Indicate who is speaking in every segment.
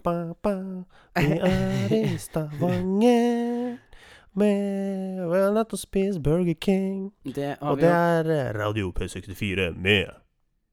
Speaker 1: Vi er i Stavanger med Vi har nettopp spist Burger King.
Speaker 2: Det har
Speaker 1: Og
Speaker 2: vi
Speaker 1: det
Speaker 2: jo.
Speaker 1: er eh, Radio P64 med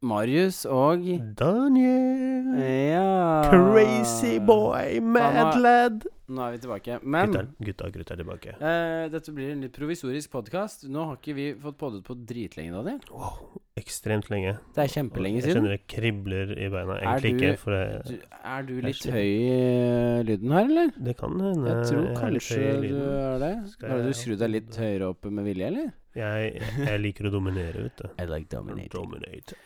Speaker 2: Marius og
Speaker 1: Daniel.
Speaker 2: Ja.
Speaker 1: Crazy boy, Madlad.
Speaker 2: Nå er vi tilbake. Men
Speaker 1: Gutta, gutta, gutta er tilbake.
Speaker 2: eh, dette blir en litt provisorisk podkast. Nå har ikke vi fått poddet på dritlenge, Daniel.
Speaker 1: Wow, ekstremt lenge.
Speaker 2: Det er kjempelenge
Speaker 1: Jeg
Speaker 2: siden.
Speaker 1: kjenner det kribler i beina.
Speaker 2: Er
Speaker 1: Egentlig
Speaker 2: du-
Speaker 1: ikke, for det,
Speaker 2: Du, er du
Speaker 1: er
Speaker 2: litt
Speaker 1: sliten.
Speaker 2: høy i eh, lyden her, eller?
Speaker 1: det kan hende
Speaker 2: Jeg tror
Speaker 1: er litt
Speaker 2: kanskje
Speaker 1: høy i
Speaker 2: du
Speaker 1: lyden.
Speaker 2: er det.
Speaker 1: Skal
Speaker 2: Har du
Speaker 1: jeg
Speaker 2: skrudd deg litt
Speaker 1: hoppe-
Speaker 2: høyere opp med vilje, eller?
Speaker 1: Jeg, jeg liker å dominere, vet du.
Speaker 2: I like
Speaker 1: Dominate.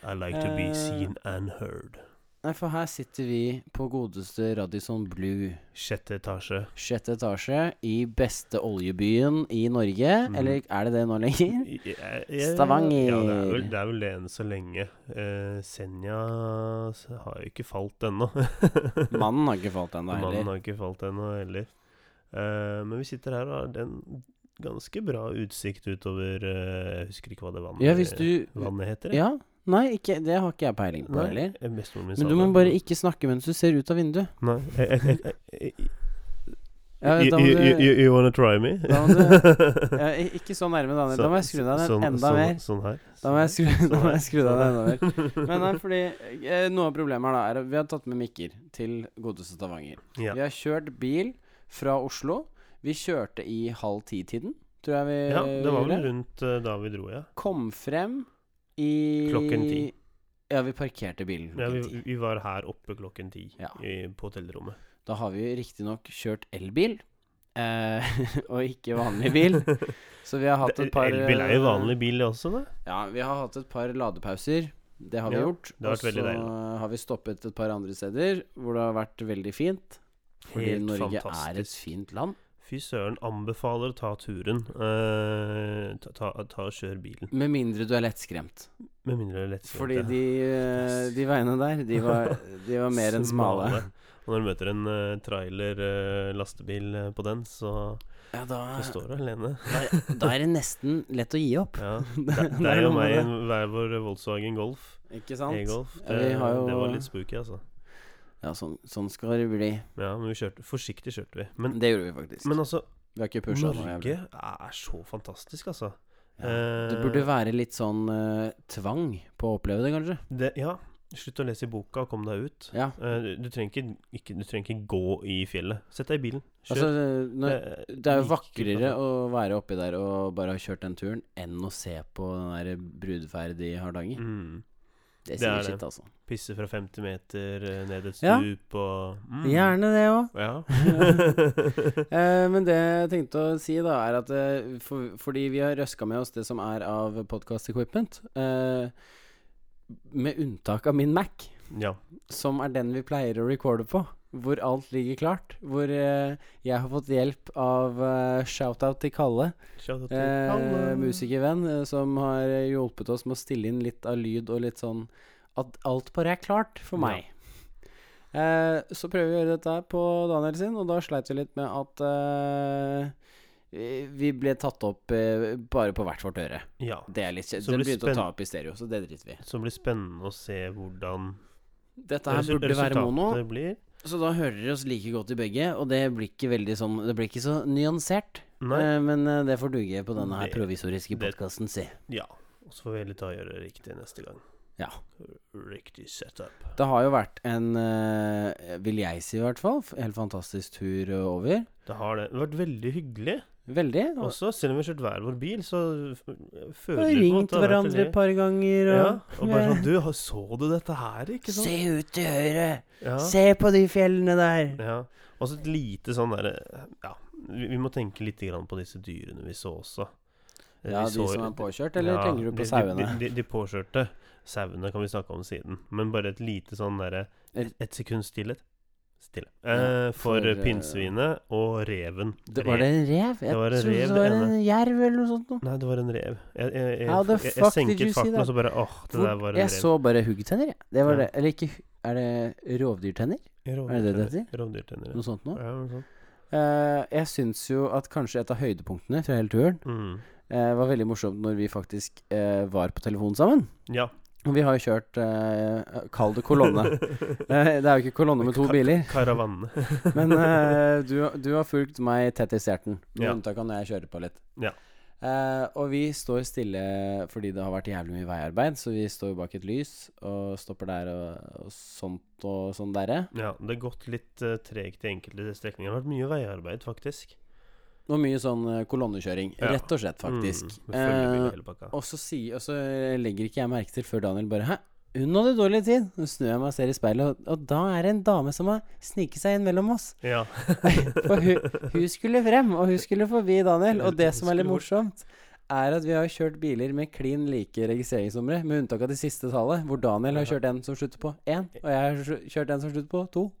Speaker 1: I like to be
Speaker 2: Eh,
Speaker 1: seen and heard.
Speaker 2: Nei, for her sitter vi på godeste Radisson Blue.
Speaker 1: Sjette etasje.
Speaker 2: Sjette etasje i beste oljebyen i Norge.
Speaker 1: Mhm.
Speaker 2: Eller er det det nå lenger?
Speaker 1: Jeg- jeg- eh,
Speaker 2: Stavanger.
Speaker 1: Ja, det er vel det, er vel det enn så lenge. Eh, Senja s- har jo ikke falt ennå.
Speaker 2: Mannen har ikke falt ennå
Speaker 1: Mannen
Speaker 2: heller.
Speaker 1: har ikke falt ennå heller. Eh, men vi sitter her og har den ganske bra utsikt utover eh, Jeg husker ikke hva det vannet,
Speaker 2: Ja, hvis du
Speaker 1: vannet heter. jeg.
Speaker 2: Ja. Nei, ikke, det har ikke jeg peiling på
Speaker 1: Nei,
Speaker 2: heller.
Speaker 1: eh, bestemoren min sa
Speaker 2: Men du
Speaker 1: det.
Speaker 2: må bare ikke snakke mens du ser ut av vinduet.
Speaker 1: Nei. Jeg, jeg, jeg, jeg,
Speaker 2: Ja,
Speaker 1: you,
Speaker 2: da må
Speaker 1: you,
Speaker 2: du,
Speaker 1: you, you wanna try me?
Speaker 2: Da må du- ja, i- ikke så nærme, Daniel. Da må jeg skru deg ned
Speaker 1: Sånn-
Speaker 2: enda
Speaker 1: sånn,
Speaker 2: mer.
Speaker 1: Sånn her. Sånn-
Speaker 2: Da må jeg skru, da må jeg skru deg ned enda mer.
Speaker 1: mer.
Speaker 2: Men nei, fordi eh, Noe av problemet her da er at vi har tatt med mikker til godeste Stavanger.
Speaker 1: Ja.
Speaker 2: Vi har kjørt bil fra Oslo. Vi kjørte i halv ti-tiden, tror jeg vi
Speaker 1: ja, det var vel
Speaker 2: gjorde.
Speaker 1: rundt eh, da vi dro, ja.
Speaker 2: Kom frem i
Speaker 1: Klokken ti.
Speaker 2: Ja, vi parkerte bilen
Speaker 1: ja
Speaker 2: klokken
Speaker 1: vi,
Speaker 2: ti.
Speaker 1: vi var her oppe klokken ti
Speaker 2: Ja.
Speaker 1: i, på hotellrommet.
Speaker 2: Da har vi riktignok kjørt elbil, eh, og ikke vanlig bil. Så vi har hatt et par eh,
Speaker 1: Elbil er jo vanlig bil også, da.
Speaker 2: Ja, vi har hatt et par ladepauser. Det har vi
Speaker 1: Ja,
Speaker 2: gjort.
Speaker 1: det har vært
Speaker 2: og
Speaker 1: veldig
Speaker 2: så
Speaker 1: deilig,
Speaker 2: har vi stoppet et par andre steder hvor det har vært veldig fint. Fordi
Speaker 1: Helt
Speaker 2: Norge er et
Speaker 1: fantastisk.
Speaker 2: fint land.
Speaker 1: Fy søren, anbefaler å ta turen. Eh, ta, ta, ta og Kjør bilen.
Speaker 2: Med mindre du er lettskremt.
Speaker 1: Med mindre det er lettvint.
Speaker 2: Fordi
Speaker 1: ja.
Speaker 2: de, eh, de veiene der, de var, de var mer enn smale.
Speaker 1: Og når du møter en eh, trailer, eh, lastebil eh, på den, så,
Speaker 2: Ja, da,
Speaker 1: så står du alene.
Speaker 2: da er det nesten lett å gi opp.
Speaker 1: Ja.
Speaker 2: Det,
Speaker 1: Det, det er jo
Speaker 2: noe med
Speaker 1: meg
Speaker 2: det.
Speaker 1: en hver vår Volkswagen Golf.
Speaker 2: Ikke sant?
Speaker 1: E-Golf.
Speaker 2: Ja,
Speaker 1: Det,
Speaker 2: vi har jo-
Speaker 1: det var litt spooky, altså.
Speaker 2: Ja, sånn, sånn skal det bli.
Speaker 1: Ja, men vi kjørte Forsiktig kjørte vi. Men,
Speaker 2: Det gjorde vi faktisk.
Speaker 1: men altså,
Speaker 2: vi har ikke pusha noe jævlig.
Speaker 1: Norge er så fantastisk, altså.
Speaker 2: Ja. Det burde
Speaker 1: Eh,
Speaker 2: være litt sånn eh, tvang på å oppleve det, kanskje.
Speaker 1: det, ja, slutt å lese i boka og kom deg ut.
Speaker 2: Ja.
Speaker 1: Eh, du, du, trenger ikke, ikke, du trenger ikke gå i fjellet. Sett deg i bilen. Kjør.
Speaker 2: Altså, når,
Speaker 1: Det-
Speaker 2: Det er jo
Speaker 1: like
Speaker 2: vakrere
Speaker 1: flott.
Speaker 2: å være oppi der og bare ha kjørt den turen, enn å se på den der brudeferd i Hardanger.
Speaker 1: mm.
Speaker 2: Det
Speaker 1: det
Speaker 2: sier
Speaker 1: er det.
Speaker 2: sitt, altså.
Speaker 1: Pisse fra 50 meter eh, ned et
Speaker 2: Ja.
Speaker 1: stup og mm.
Speaker 2: det òg.
Speaker 1: Ja.
Speaker 2: Eh, men det jeg tenkte å si, da, er at eh, for, fordi vi har røska med oss det som er av podcast equipment, eh, med unntak av min Mac,
Speaker 1: ja.
Speaker 2: som er den vi pleier å recorde på, hvor alt ligger klart, hvor eh, jeg har fått hjelp av eh, shout-out til Kalle,
Speaker 1: Shout out til
Speaker 2: Eh,
Speaker 1: alle.
Speaker 2: musikervenn eh, som har eh, hjulpet oss med å stille inn litt av lyd og litt sånn At alt bare er klart for
Speaker 1: Ja.
Speaker 2: meg. Eh, så prøver vi å gjøre dette her på Daniel sin, og da sleit vi litt med at eh, vi- vi ble tatt opp eh, bare på hvert vårt øre.
Speaker 1: Ja.
Speaker 2: Det er litt kjedelig.
Speaker 1: Så
Speaker 2: Den
Speaker 1: det blir
Speaker 2: begynte å
Speaker 1: spenn-
Speaker 2: ta opp i stereo, så det driter vi i.
Speaker 1: Så det blir spennende å se hvordan
Speaker 2: Dette her
Speaker 1: resu-
Speaker 2: burde være mono,
Speaker 1: resultatet blir.
Speaker 2: så da hører dere oss like godt i begge, og det blir ikke veldig sånn Det blir ikke så nyansert.
Speaker 1: Nei.
Speaker 2: Eh, men eh, det får duge på denne her
Speaker 1: Det-
Speaker 2: provisoriske
Speaker 1: det-
Speaker 2: podkasten, si.
Speaker 1: Ja. Og så får vi heller ta og gjøre det riktig neste gang.
Speaker 2: Ja.
Speaker 1: Riktig setup.
Speaker 2: Det har jo vært en, eh, vil jeg si i hvert fall, f- helt fantastisk tur eh, over.
Speaker 1: Det har det. Det har vært veldig hyggelig
Speaker 2: Veldig. Og
Speaker 1: også. Selv om vi har kjørt hver vår bil, så f-
Speaker 2: og
Speaker 1: føler vi på en
Speaker 2: ringt
Speaker 1: måte at det har vært
Speaker 2: hverandre
Speaker 1: veldig-
Speaker 2: et par ganger. Og,
Speaker 1: ja, og bare sånn Du, har- så du dette her, ikke sant?
Speaker 2: Se ut til høyre!
Speaker 1: Ja.
Speaker 2: Se på de fjellene der!
Speaker 1: Ja. Og så et lite sånn derre Ja, vi, vi må tenke litt grann på disse dyrene vi så også. Eh,
Speaker 2: Ja,
Speaker 1: vi
Speaker 2: de
Speaker 1: så-
Speaker 2: som er påkjørt, eller
Speaker 1: Ja,
Speaker 2: tenker du
Speaker 1: de-
Speaker 2: på sauene?
Speaker 1: De, de, de påkjørte sauene kan vi snakke om siden. Men bare et lite sånn derre
Speaker 2: Et-
Speaker 1: Et et sekunds stillhet. Stille.
Speaker 2: Ja,
Speaker 1: Eh, for
Speaker 2: for, eh,
Speaker 1: pinnsvinet og reven.
Speaker 2: det, var det en rev? Jeg
Speaker 1: Det var en
Speaker 2: trodde
Speaker 1: rev,
Speaker 2: det var
Speaker 1: det
Speaker 2: en jerv eller noe sånt. noe.
Speaker 1: Nei, det var en rev. Jeg, jeg, jeg,
Speaker 2: How the
Speaker 1: jeg, jeg,
Speaker 2: fuck did you
Speaker 1: senket
Speaker 2: see
Speaker 1: farten,
Speaker 2: that?
Speaker 1: og så bare Åh, det
Speaker 2: Hvor-
Speaker 1: der var en
Speaker 2: jeg
Speaker 1: rev.
Speaker 2: så bare huggtenner, jeg. Det var
Speaker 1: Ja.
Speaker 2: det. Eller ikke hu- Er det rovdyrtenner?
Speaker 1: Rovdyrtenner.
Speaker 2: det det heter?
Speaker 1: Rovdyrtenner.
Speaker 2: Noe sånt noe?
Speaker 1: Ja, noe sånt.
Speaker 2: Eh, jeg syns jo at kanskje et av høydepunktene fra hele turen
Speaker 1: Mm.
Speaker 2: eh, var veldig morsomt når vi faktisk eh, var på telefon sammen.
Speaker 1: Ja.
Speaker 2: Og Vi har jo kjørt eh, Kall det kolonne. Eh, det er jo ikke kolonne med to
Speaker 1: Ka-
Speaker 2: biler.
Speaker 1: Karavanene.
Speaker 2: Men eh, du, du har fulgt meg tett i stjerten, med
Speaker 1: Ja.
Speaker 2: unntak av når jeg kjører på litt.
Speaker 1: Ja.
Speaker 2: Eh, og vi står stille fordi det har vært jævlig mye veiarbeid, så vi står bak et lys og stopper der og, og sånt og sånn derre.
Speaker 1: Ja, det har gått litt eh, tregt i enkelte strekninger. Det har vært mye veiarbeid, faktisk.
Speaker 2: Og mye sånn eh, kolonnekjøring,
Speaker 1: Ja.
Speaker 2: rett og slett, faktisk.
Speaker 1: Mm, følgebil
Speaker 2: Eh,
Speaker 1: og hele pakka.
Speaker 2: og, så sier- og så legger ikke jeg merke til før Daniel bare Hæ? Hun hadde dårlig tid. Så snur jeg meg og ser i speilet, og, og da er det en dame som har sniket seg inn mellom oss.
Speaker 1: Ja.
Speaker 2: For hun, hun skulle frem, og hun skulle forbi Daniel. Og det som er litt morsomt, er at vi har kjørt biler med klin like registreringsnumre, med unntak av det siste tallet, hvor Daniel har kjørt en som slutter på én, og jeg har kjø- kjørt en som slutter på to.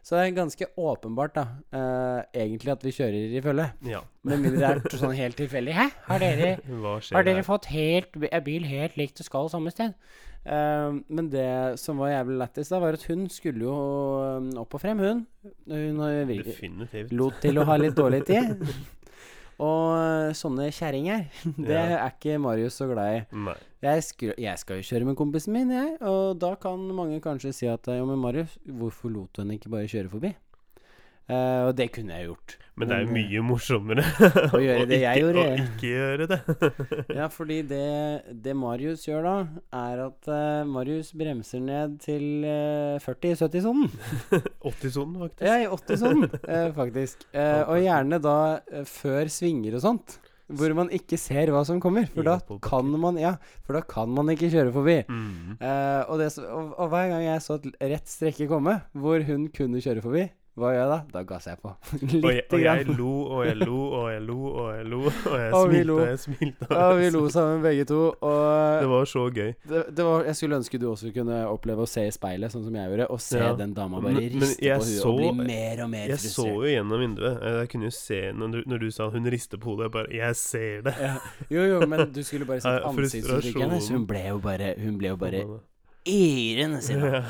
Speaker 2: Så det er ganske åpenbart, da, eh, egentlig at vi kjører i følge.
Speaker 1: ja.
Speaker 2: Med mindre det er sånn helt tilfeldig. Hæ, har dere
Speaker 1: Hva skjer
Speaker 2: har dere
Speaker 1: her?
Speaker 2: fått helt, er bil helt likt og skal samme sted? Ehm, men det som var jævlig lættis da, var at hun skulle jo øhm, opp og frem, hun. Hun har vir-
Speaker 1: Definitivt.
Speaker 2: lot til å ha litt dårlig tid. Og øh, sånne kjerringer, det
Speaker 1: Ja.
Speaker 2: er ikke Marius så glad i.
Speaker 1: Nei.
Speaker 2: Jeg, skru, jeg skal jo kjøre med kompisen min, jeg. Og da kan mange kanskje si at øh, Jo, men Marius, hvorfor lot du henne ikke bare kjøre forbi? Eh, og det kunne jeg gjort.
Speaker 1: Men det er jo
Speaker 2: Men, eh,
Speaker 1: mye morsommere
Speaker 2: Å gjøre det jeg
Speaker 1: ikke, å
Speaker 2: gjorde.
Speaker 1: ikke gjøre det.
Speaker 2: Ja, fordi det, det Marius gjør da, er at eh, Marius bremser ned til eh, 40 i 70-sonen.
Speaker 1: 80-sonen, faktisk.
Speaker 2: Ja, i 80-sonen, eh, faktisk. Eh, og gjerne da eh, før svinger og sånt. Hvor man ikke ser hva som kommer, for da
Speaker 1: I oppoverbakker.
Speaker 2: kan man Ja, for da kan man ikke kjøre forbi.
Speaker 1: Mm.
Speaker 2: Eh, og, det, s- og, og hver gang jeg så et l- rett strekke komme, hvor hun kunne kjøre forbi, hva gjør jeg da? Da gasser jeg på.
Speaker 1: Og, jeg,
Speaker 2: Lite
Speaker 1: og jeg
Speaker 2: grann.
Speaker 1: lo og jeg lo og jeg lo og jeg lo, og jeg
Speaker 2: Og vi
Speaker 1: smilte
Speaker 2: lo.
Speaker 1: og jeg smilte.
Speaker 2: Ja, vi lo sammen begge to, og
Speaker 1: Det var så gøy.
Speaker 2: det, det var, jeg skulle ønske du også kunne oppleve å se i speilet, sånn som jeg gjorde, og se
Speaker 1: Ja.
Speaker 2: den dama
Speaker 1: Men-
Speaker 2: bare
Speaker 1: men
Speaker 2: riste
Speaker 1: jeg
Speaker 2: på huet
Speaker 1: så-
Speaker 2: og bli mer og mer
Speaker 1: Jeg så
Speaker 2: frustrert.
Speaker 1: jo gjennom vinduet. Eh, Jeg kunne jo se Når du, når du sa hun rister på hodet, jeg bare Jeg ser det!
Speaker 2: Ja. Jo, jo, men du skulle bare sett
Speaker 1: Ja,
Speaker 2: ansiktsuttrykket hennes. Hun
Speaker 1: frustrasjonen.
Speaker 2: ble jo bare Hun ble jo bare yrende sin.
Speaker 1: Ja.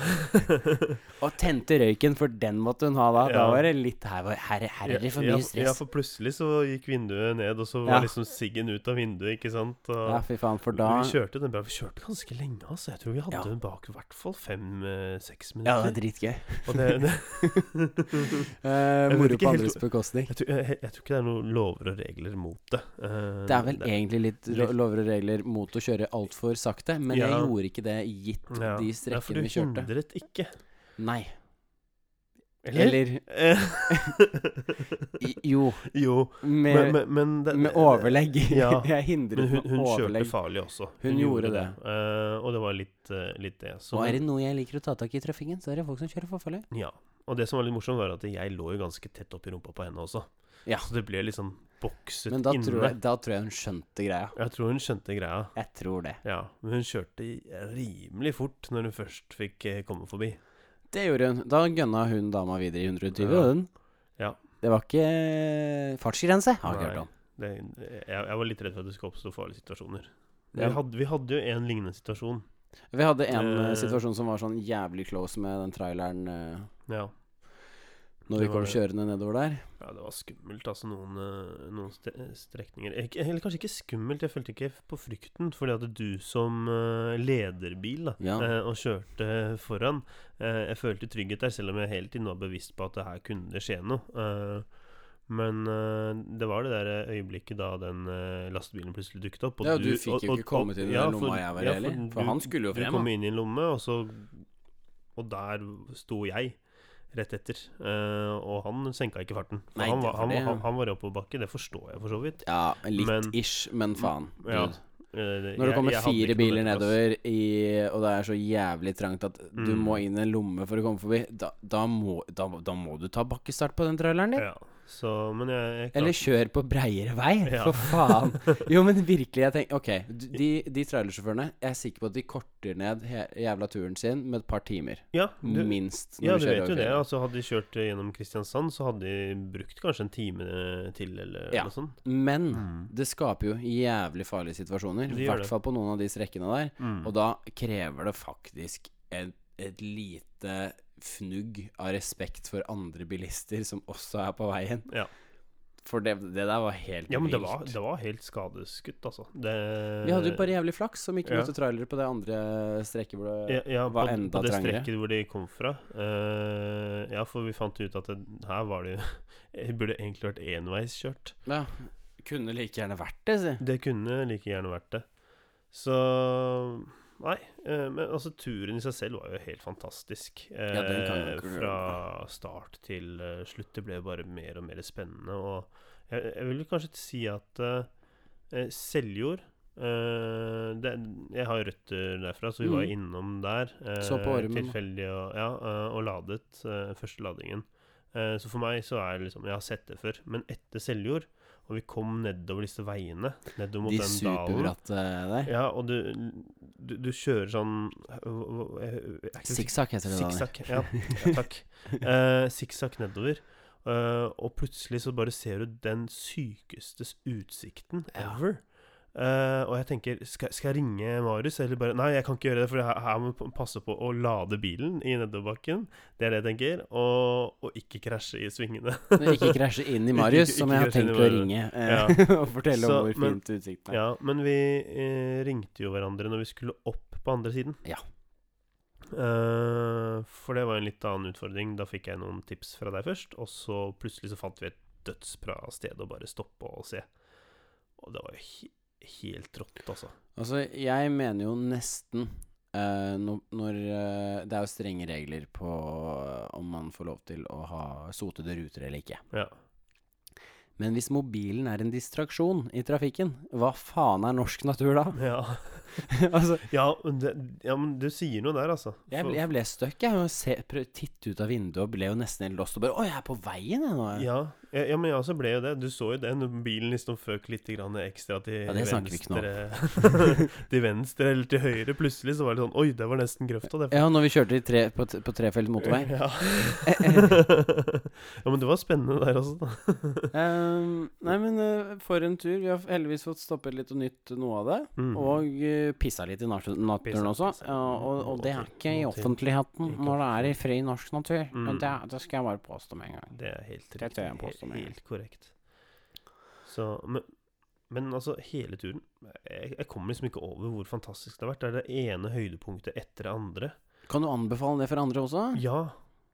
Speaker 2: Og tente røyken, for den måtte hun ha da. Da
Speaker 1: Ja.
Speaker 2: var det litt her, var- her, her er det for
Speaker 1: Ja, ja, Ja,
Speaker 2: mye stress.
Speaker 1: for plutselig så gikk vinduet ned, og så
Speaker 2: Ja.
Speaker 1: var liksom siggen ut av vinduet, ikke sant? Og
Speaker 2: Ja, fy faen, for da
Speaker 1: Vi kjørte den bra. Vi kjørte ganske lenge, altså. Jeg tror vi hadde
Speaker 2: Ja.
Speaker 1: den bak i hvert fall fem-seks
Speaker 2: Ja, det er
Speaker 1: minutter.
Speaker 2: dritgøy.
Speaker 1: og det, det,
Speaker 2: Eh,
Speaker 1: vet
Speaker 2: moro
Speaker 1: ikke
Speaker 2: på
Speaker 1: helt-
Speaker 2: andres bekostning.
Speaker 1: jeg, tror, jeg, jeg tror ikke det er noen lover og regler mot det. Eh,
Speaker 2: Det er vel egentlig litt
Speaker 1: Litt-
Speaker 2: lo- lover og regler mot å kjøre altfor sakte, men jeg
Speaker 1: Ja.
Speaker 2: gjorde ikke det gitt
Speaker 1: Ja.
Speaker 2: de
Speaker 1: Nei, for du
Speaker 2: strekkene vi kjørte.
Speaker 1: hindret ikke.
Speaker 2: Nei. Eller i- Jo,
Speaker 1: Jo,
Speaker 2: med,
Speaker 1: men, men, men det-
Speaker 2: med overlegg.
Speaker 1: Ja, Men
Speaker 2: jeg hindret
Speaker 1: hun, hun
Speaker 2: med
Speaker 1: kjørte
Speaker 2: overlegg.
Speaker 1: farlig også.
Speaker 2: Hun gjorde
Speaker 1: Eh, og det var litt, eh, litt det. Så,
Speaker 2: Og er det noe jeg liker å ta tak i i trafikken, så er det folk som kjører for farlig.
Speaker 1: ja. og det som var litt morsomt, var at jeg lå jo ganske tett oppi rumpa på henne også.
Speaker 2: Ja.
Speaker 1: Så det ble liksom bokset
Speaker 2: Men da
Speaker 1: inne.
Speaker 2: tror, jeg, da tror jeg hun skjønte greia.
Speaker 1: Jeg tror hun skjønte greia.
Speaker 2: Jeg tror det.
Speaker 1: Ja, men hun kjørte rimelig fort når hun først fikk eh, komme forbi.
Speaker 2: Det gjorde hun. Da gønna hun dama videre i 120,
Speaker 1: Ja.
Speaker 2: hun.
Speaker 1: Ja.
Speaker 2: Det var ikke fartsgrense, har jeg
Speaker 1: Nei.
Speaker 2: ikke hørt om.
Speaker 1: Det, jeg, jeg var litt redd for at det skulle oppstå farlige situasjoner.
Speaker 2: Ja.
Speaker 1: Vi, hadde, vi hadde jo en lignende situasjon.
Speaker 2: Vi hadde en eh,
Speaker 1: Eh.
Speaker 2: situasjon som var sånn jævlig close med den traileren eh,
Speaker 1: Ja.
Speaker 2: når
Speaker 1: Det
Speaker 2: vi
Speaker 1: var
Speaker 2: kom
Speaker 1: det.
Speaker 2: kjørende nedover der.
Speaker 1: ja, det var skummelt, altså, noen, eh, noen ste strekninger. Eh, Ikke- Eller kanskje ikke skummelt, jeg følte ikke på frykten, fordi at du som eh, lederbil da,
Speaker 2: Ja.
Speaker 1: eh, og kjørte foran, eh, jeg følte trygghet der, selv om jeg hele tiden var bevisst på at det her kunne det skje noe. Eh, men eh, det var det der øyeblikket da den eh, lastebilen plutselig dukket opp. og
Speaker 2: Ja, du fikk jo ikke kommet inn i den lomma jeg var i heller, for han skulle jo frem,
Speaker 1: Du kom
Speaker 2: han.
Speaker 1: inn i en lomme, og så Og der sto jeg rett etter. eh, og han senka ikke farten. For
Speaker 2: Nei,
Speaker 1: han,
Speaker 2: det
Speaker 1: var,
Speaker 2: var
Speaker 1: han,
Speaker 2: det, ja.
Speaker 1: han, han var i oppoverbakke, det forstår jeg for så vidt.
Speaker 2: Ja, litt
Speaker 1: Men-
Speaker 2: ish, men faen.
Speaker 1: Ja.
Speaker 2: dude.
Speaker 1: Eh, jeg-
Speaker 2: Når det kommer
Speaker 1: jeg hadde
Speaker 2: fire
Speaker 1: ikke noe
Speaker 2: biler
Speaker 1: møteplass.
Speaker 2: nedover, i, og det er så jævlig trangt at du
Speaker 1: Mm.
Speaker 2: må inn i en lomme for å komme forbi, da, da, må, da, da må du ta bakkestart på den traileren din.
Speaker 1: Ja, så, men jeg, jeg klarte-
Speaker 2: Eller kjør på breiere vei,
Speaker 1: Ja.
Speaker 2: for faen. Jo, men virkelig, jeg tenker Ok, d- de, de trailersjåførene, jeg er sikker på at de korter ned he, jævla turen sin med et par timer.
Speaker 1: ja, du,
Speaker 2: minst. når
Speaker 1: Ja,
Speaker 2: vi
Speaker 1: du
Speaker 2: kjører
Speaker 1: vet jo
Speaker 2: over
Speaker 1: det.
Speaker 2: fjellet.
Speaker 1: Altså, hadde de kjørt eh, gjennom Kristiansand, så hadde de brukt kanskje en time eh, til, eller
Speaker 2: Ja.
Speaker 1: noe sånt.
Speaker 2: Men
Speaker 1: Mm.
Speaker 2: det skaper jo jævlig farlige situasjoner.
Speaker 1: Det
Speaker 2: I
Speaker 1: gjør
Speaker 2: hvert
Speaker 1: det.
Speaker 2: fall på noen av de strekkene der.
Speaker 1: Mm.
Speaker 2: Og da krever det faktisk et, et lite fnugg av respekt for andre bilister som også er på veien.
Speaker 1: Ja.
Speaker 2: For det, det der var helt
Speaker 1: Ja, men det
Speaker 2: vilt.
Speaker 1: var, det var helt skadeskutt, altså. Det,
Speaker 2: Vi hadde jo bare jævlig flaks som ikke
Speaker 1: Ja.
Speaker 2: møtte trailere på det andre strekket hvor det
Speaker 1: ja, ja,
Speaker 2: var
Speaker 1: på,
Speaker 2: enda
Speaker 1: på det
Speaker 2: trangere.
Speaker 1: strekket hvor de kom fra. Eh, ja, for vi fant ut at det, her var det jo Det burde egentlig vært enveiskjørt.
Speaker 2: ja. Kunne like gjerne vært det, si.
Speaker 1: Det kunne like gjerne vært det. Så Nei. eh, Men altså, turen i seg selv var jo helt fantastisk. Eh,
Speaker 2: Ja, den kan jeg ikke glemme.
Speaker 1: fra start til eh, slutt. Det ble bare mer og mer spennende. Og jeg, jeg vil kanskje si at eh, Seljord eh, det, Jeg har jo røtter derfra, så vi var
Speaker 2: Mm.
Speaker 1: innom der. eh,
Speaker 2: Så på ormen.
Speaker 1: Tilfeldig og, ja, eh, og ladet. eh, første ladingen. Eh, så for meg så er det liksom Jeg har sett det før. Men etter Seljord, og vi kom nedover disse veiene, nedover mot
Speaker 2: De
Speaker 1: den dalen
Speaker 2: superbratte der.
Speaker 1: ja, og du, du, du kjører sånn hva- hva- jeg- jeg- jeg- jeg-
Speaker 2: Sikksakk heter det, Daniel.
Speaker 1: Sikksakk. Ja, ja, takk. Eh, Sikksakk nedover. Eh, og plutselig så bare ser du den sykeste utsikten
Speaker 2: Ja.
Speaker 1: ever. Eh, og jeg tenker skal, skal jeg ringe Marius? Eller bare Nei, jeg kan ikke gjøre det, for her, her må jeg passe på å lade bilen i nedoverbakken. Det er det jeg tenker. Og, og ikke krasje i svingene.
Speaker 2: Men Ikke krasje inn i
Speaker 1: Ikke-
Speaker 2: Marius,
Speaker 1: ikke
Speaker 2: som jeg har
Speaker 1: krasje inn i
Speaker 2: tenkt å
Speaker 1: Marius.
Speaker 2: ringe eh, og fortelle
Speaker 1: Så,
Speaker 2: om hvor
Speaker 1: men-
Speaker 2: fint utsikten er.
Speaker 1: Ja, men vi eh, ringte jo hverandre når vi skulle opp på andre siden.
Speaker 2: Ja.
Speaker 1: Eh, for det var en litt annen utfordring. Da fikk jeg noen tips fra deg først, og så plutselig så fant vi et dødsbra sted å bare stoppe og se. Og det var jo he helt rått, altså.
Speaker 2: Altså, jeg mener jo nesten eh, når, når eh, Det er jo strenge regler på eh, om man får lov til å ha sotede ruter eller ikke.
Speaker 1: Ja.
Speaker 2: Men hvis mobilen er en distraksjon i trafikken, hva faen er norsk natur da?
Speaker 1: Ja,
Speaker 2: altså,
Speaker 1: ja, men, det, ja men du sier noe der, altså.
Speaker 2: jeg, ble- jeg ble stuck, jeg. Og se, prøv, titte ut av vinduet og ble jo nesten helt lost. Og bare Å, jeg er på veien, jeg nå.
Speaker 1: For- ja, ja, ja, men jeg også ble jo det. Du så jo det når bilen liksom føk litt grann ekstra til
Speaker 2: Ja, det snakker vi ikke nå om.
Speaker 1: venstre. til venstre eller til høyre. Plutselig så var det sånn Oi, det var nesten grøfta, det.
Speaker 2: Ja, når vi kjørte i tre, på, t- på trefelt motorvei.
Speaker 1: Ja. ja, men det var spennende der også, da.
Speaker 2: Ehm, nei, men eh, for en tur. Vi har heldigvis fått stoppet litt og nytt noe av det.
Speaker 1: Mm.
Speaker 2: Og uh, pissa litt i nat- naturen
Speaker 1: Pissa,
Speaker 2: også.
Speaker 1: pissa.
Speaker 2: ja, og, og det er ikke i
Speaker 1: Noe til.
Speaker 2: offentligheten
Speaker 1: Ikke
Speaker 2: når det er i fri norsk natur.
Speaker 1: Mm.
Speaker 2: Men det, det skal jeg bare påstå med en gang.
Speaker 1: Det er helt
Speaker 2: Det tør jeg
Speaker 1: riktig.
Speaker 2: påstå med en
Speaker 1: Helt, helt korrekt. Så, men, men altså, hele turen jeg, jeg kommer liksom ikke over hvor fantastisk det har vært. Det er det ene høydepunktet etter det andre.
Speaker 2: Kan du anbefale det for andre også?
Speaker 1: Ja.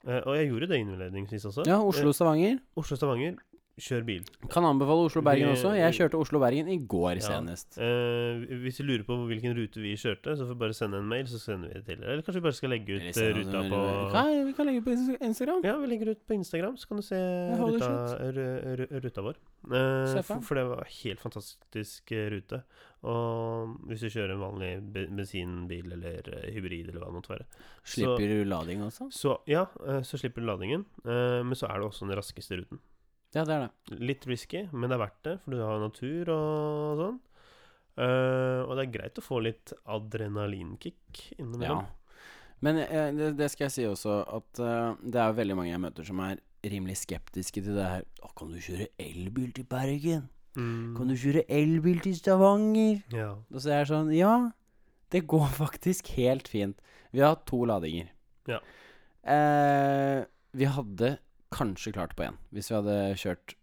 Speaker 1: eh, Og jeg gjorde det innledningsvis også.
Speaker 2: Ja, Oslo-Stavanger.
Speaker 1: Oslo-Stavanger, kjør bil.
Speaker 2: Kan anbefale
Speaker 1: Vi-
Speaker 2: Oslo-Bergen også. Jeg kjørte Oslo-Bergen i går
Speaker 1: Ja.
Speaker 2: senest.
Speaker 1: Eh, hvis du lurer på hvilken rute vi kjørte, så får du bare sende en mail, så sender vi det til dere. Eller kanskje vi bare skal legge
Speaker 2: Eller
Speaker 1: ut eh,
Speaker 2: senere,
Speaker 1: ruta
Speaker 2: eller-
Speaker 1: på
Speaker 2: Nei, Vi kan legge på Inst- Instagram.
Speaker 1: Ja, vi legger ut på Instagram, så kan du se
Speaker 2: holy
Speaker 1: ruta, ru- ru- ruta vår. Eh,
Speaker 2: Se
Speaker 1: for,
Speaker 2: fram.
Speaker 1: for det var helt fantastisk eh, rute. Og hvis du kjører en vanlig be- bensinbil eller eh, hybrid eller hva det måtte være,
Speaker 2: Slipper lading også.
Speaker 1: så ja, eh, så slipper du ladingen. Eh, men så er det også den raskeste ruten.
Speaker 2: Ja, det er det.
Speaker 1: Litt risky, men det er verdt det, for du har natur og sånn. Eh, og det er greit å få litt adrenalinkick innimellom.
Speaker 2: Ja. Men eh, det, det skal jeg si også, at eh, det er veldig mange jeg møter som er rimelig skeptiske til det her. Å, kan du kjøre elbil til Bergen?
Speaker 1: Mm,
Speaker 2: Kan du kjøre elbil til Stavanger?
Speaker 1: ja.
Speaker 2: Og så er jeg sånn Ja, det går faktisk helt fint. Vi har hatt to ladinger.
Speaker 1: Ja.
Speaker 2: Eh, vi hadde kanskje klart på én, hvis vi hadde kjørt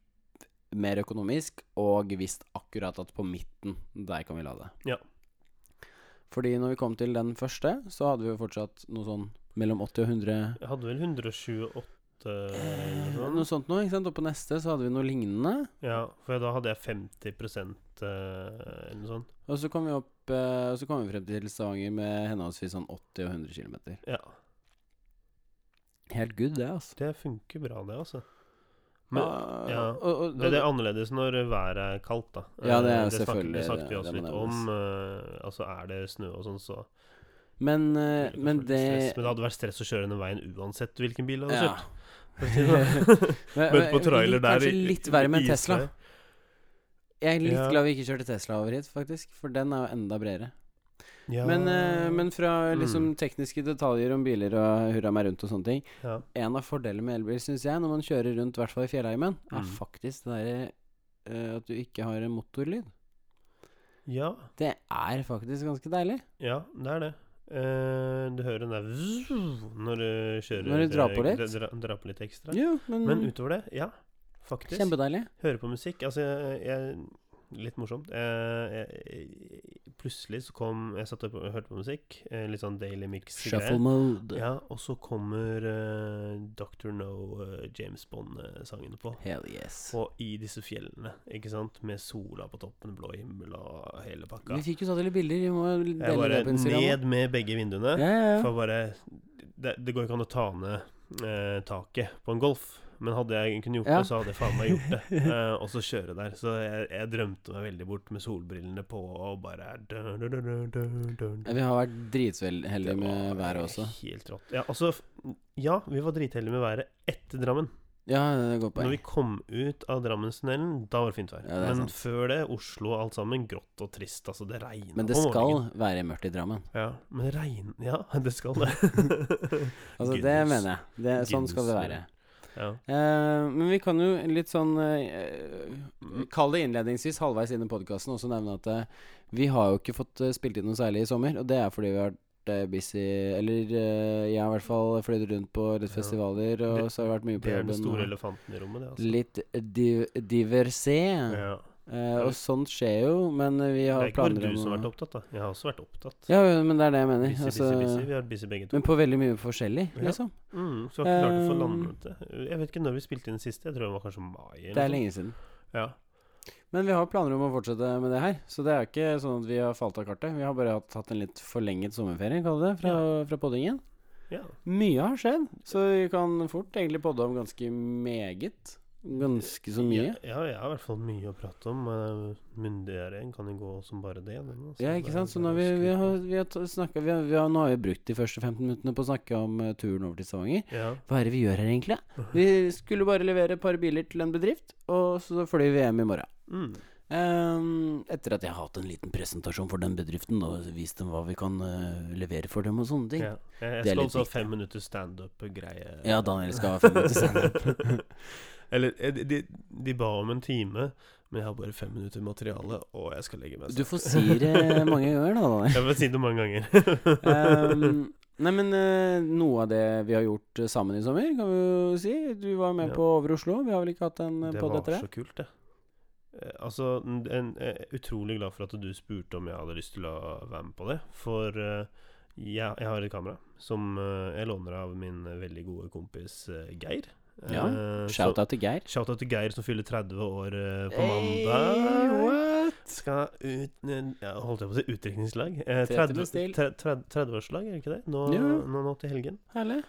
Speaker 2: mer økonomisk og visst akkurat at på midten, der kan vi lade.
Speaker 1: Ja.
Speaker 2: Fordi når vi kom til den første, så hadde vi jo fortsatt noe sånn mellom 80 og 100
Speaker 1: Jeg hadde vel 128 eller
Speaker 2: Eh,
Speaker 1: noe sånt.
Speaker 2: Noe sånt noe, ikke sant? Og på neste så hadde vi noe lignende.
Speaker 1: Ja, for da hadde jeg 50 eh, eller noe sånt.
Speaker 2: Og så kom vi opp eh, Og så kom vi frem til Stavanger med henholdsvis sånn 80 og 100 km.
Speaker 1: Ja,
Speaker 2: Helt good, det, altså.
Speaker 1: det funker bra, det, altså. Men
Speaker 2: Ah,
Speaker 1: ja.
Speaker 2: og, og, og,
Speaker 1: det, det er annerledes når været er kaldt, da.
Speaker 2: Ja, det er
Speaker 1: Eh,
Speaker 2: selvfølgelig-
Speaker 1: snakket, det snakket vi
Speaker 2: det-
Speaker 1: også
Speaker 2: det er
Speaker 1: litt om. eh, altså, er det snø og sånn, så
Speaker 2: men,
Speaker 1: vil
Speaker 2: eh,
Speaker 1: du
Speaker 2: men
Speaker 1: føle
Speaker 2: det
Speaker 1: stress. Men det hadde vært stress å kjøre den veien uansett hvilken bil du hadde
Speaker 2: Ja.
Speaker 1: kjørt. for å si det sånn.
Speaker 2: Men-
Speaker 1: Møtt på
Speaker 2: men
Speaker 1: trailer
Speaker 2: litt-
Speaker 1: der
Speaker 2: Kanskje
Speaker 1: i-
Speaker 2: litt verre med
Speaker 1: i
Speaker 2: en Tesla.
Speaker 1: isvei.
Speaker 2: Jeg er litt
Speaker 1: Ja.
Speaker 2: glad vi ikke kjørte Tesla over hit, faktisk. For den er jo enda bredere.
Speaker 1: Ja,
Speaker 2: Men, eh, men fra
Speaker 1: Mm.
Speaker 2: liksom tekniske detaljer om biler og hurra meg rundt og sånne ting
Speaker 1: ja.
Speaker 2: En av fordelene med elbil, syns jeg, når man kjører rundt, i hvert fall i fjellheimen, er
Speaker 1: Mm.
Speaker 2: faktisk det derre eh, at du ikke har en motorlyd.
Speaker 1: ja,
Speaker 2: Det er faktisk ganske deilig.
Speaker 1: ja, det er det. Eh, du hører den der vzz når du kjører
Speaker 2: Når du drar på litt.
Speaker 1: Dra, drar på litt ekstra.
Speaker 2: Jo, men,
Speaker 1: Men utover det, ja. faktisk.
Speaker 2: Kjempedeilig.
Speaker 1: Høre på musikk. Altså, jeg, jeg Litt morsomt. Eh, jeg, jeg, plutselig så kom Jeg satt opp og hørte på musikk. eh, Litt sånn Daily
Speaker 2: Shuffle
Speaker 1: Mix-greier.
Speaker 2: mode.
Speaker 1: Ja, og så kommer eh, Dr. No, eh, James Bond-sangen på.
Speaker 2: Hell yes.
Speaker 1: Og i disse fjellene, ikke sant? Med sola på toppen, blå himmel og hele pakka.
Speaker 2: Vi fikk jo tatt litt bilder. Vi må dele
Speaker 1: Jeg bare
Speaker 2: det på Instagram.
Speaker 1: ned med begge vinduene.
Speaker 2: Ja, ja, ja.
Speaker 1: For bare det, det går ikke an å ta ned eh, taket på en Golf. Men hadde jeg kunnet gjort
Speaker 2: Ja.
Speaker 1: det, så hadde jeg faen meg gjort det. Eh, og så kjøre der. Så jeg, jeg drømte meg veldig bort med solbrillene på og bare dun, dun, dun, dun, dun, dun.
Speaker 2: Vi har vært dritheldige
Speaker 1: Det
Speaker 2: med
Speaker 1: var
Speaker 2: været også.
Speaker 1: Helt rått. Ja, altså, f- ja, vi var dritheldige med været etter Drammen.
Speaker 2: Ja, det går
Speaker 1: Når
Speaker 2: poeng.
Speaker 1: vi kom ut av Drammenstunnelen, da var det fint vær.
Speaker 2: Ja, det er
Speaker 1: Men
Speaker 2: sant.
Speaker 1: før det, Oslo og alt sammen, grått og trist. Altså, det regna
Speaker 2: Men det
Speaker 1: på
Speaker 2: skal
Speaker 1: morgenen.
Speaker 2: være mørkt i Drammen.
Speaker 1: Ja, men regn... Ja, det skal det.
Speaker 2: Altså, det
Speaker 1: Goodness.
Speaker 2: mener jeg. Det, sånn skal det
Speaker 1: Goodness,
Speaker 2: være.
Speaker 1: men- ja.
Speaker 2: Eh, men vi kan jo litt sånn eh, Kall det innledningsvis halvveis inn i podkasten også nevne at eh, vi har jo ikke fått eh, spilt inn noe særlig i sommer. Og det er fordi vi har vært eh, busy Eller eh, jeg har i hvert fall fløyet rundt på litt
Speaker 1: Ja.
Speaker 2: festivaler, og
Speaker 1: Det-
Speaker 2: så har jeg vært mye på
Speaker 1: Det er den
Speaker 2: jobben.
Speaker 1: store
Speaker 2: og
Speaker 1: elefanten i rommet, det, altså.
Speaker 2: Litt div diversé.
Speaker 1: Ja.
Speaker 2: Eh, og sånt skjer jo, men vi
Speaker 1: Det
Speaker 2: har
Speaker 1: er ikke bare
Speaker 2: planer
Speaker 1: du som
Speaker 2: om
Speaker 1: har vært
Speaker 2: å-
Speaker 1: opptatt, da. Jeg har også vært opptatt.
Speaker 2: Ja, men det er det jeg mener.
Speaker 1: Busy,
Speaker 2: altså,
Speaker 1: busy, busy. Vi har vært busy begge to.
Speaker 2: Men på veldig mye forskjellig,
Speaker 1: Ja.
Speaker 2: liksom.
Speaker 1: Mm, så har ikke klart å få
Speaker 2: Eh,
Speaker 1: landet det. Jeg vet ikke når vi spilte inn sist. Jeg tror det var kanskje mai. eller
Speaker 2: Det er
Speaker 1: noe
Speaker 2: lenge siden.
Speaker 1: sånt. Ja.
Speaker 2: Men vi har planer om å fortsette med det her, så det er ikke sånn at vi har falt av kartet. Vi har bare hatt- tatt en litt forlenget sommerferie, kall det, fra, fra poddingen.
Speaker 1: ja.
Speaker 2: Mye har skjedd, så vi kan fort egentlig podde om ganske meget. Ganske så mye.
Speaker 1: Ja, ja, jeg har i hvert fall mye å prate om. eh, Myndiggjøring kan jo gå som bare det. den, altså.
Speaker 2: Ja, ikke sant? Så nå har vi, vi har, vi har t- snakket, vi har, vi har, nå har vi brukt de første 15 minuttene på å snakke om eh, turen over til Stavanger.
Speaker 1: ja.
Speaker 2: Hva er det vi gjør her, egentlig? Vi skulle bare levere et par biler til en bedrift, og så flyr vi hjem i morgen.
Speaker 1: Mm.
Speaker 2: Ehm, etter at jeg har hatt en liten presentasjon for den bedriften og vist dem hva vi kan eh, levere for dem og sånne ting.
Speaker 1: ja.
Speaker 2: Ja,
Speaker 1: Jeg, jeg
Speaker 2: Det er
Speaker 1: skal
Speaker 2: litt
Speaker 1: også ha
Speaker 2: viktig.
Speaker 1: fem minutter standup-greie.
Speaker 2: Daniel skal ha fem minutter standup.
Speaker 1: Eller eh, de, de, de ba om en time, men jeg har bare fem minutter materiale, og jeg skal legge meg.
Speaker 2: Du får si det mange ganger, da, Daniel.
Speaker 1: Jeg får si det mange ganger.
Speaker 2: Ehm, nei, men eh, noe av det vi har gjort eh, sammen i sommer, kan vi jo si. Du var med
Speaker 1: Ja.
Speaker 2: på Over Oslo. Vi har vel ikke hatt en
Speaker 1: det
Speaker 2: pod
Speaker 1: var
Speaker 2: etter det?
Speaker 1: så kult, det. Eh, Altså, n- en, jeg er utrolig glad for at du spurte om jeg hadde lyst til å være med på det. For eh, jeg, jeg har et kamera som eh, jeg låner av min veldig gode kompis eh, Geir.
Speaker 2: Ja,
Speaker 1: Eh, så-
Speaker 2: Shout-out til Geir.
Speaker 1: Shoutout til Geir som fyller 30 år eh, på
Speaker 2: Hey,
Speaker 1: mandag.
Speaker 2: what?
Speaker 1: Skal ut eh, ja, Holdt jeg på å si utdrikningslag? Eh,
Speaker 2: 30
Speaker 1: 30
Speaker 2: med stil.
Speaker 1: 30 30-årsdag, er det ikke det? Nå,
Speaker 2: Jo.
Speaker 1: nå, nå til helgen.
Speaker 2: Herlig.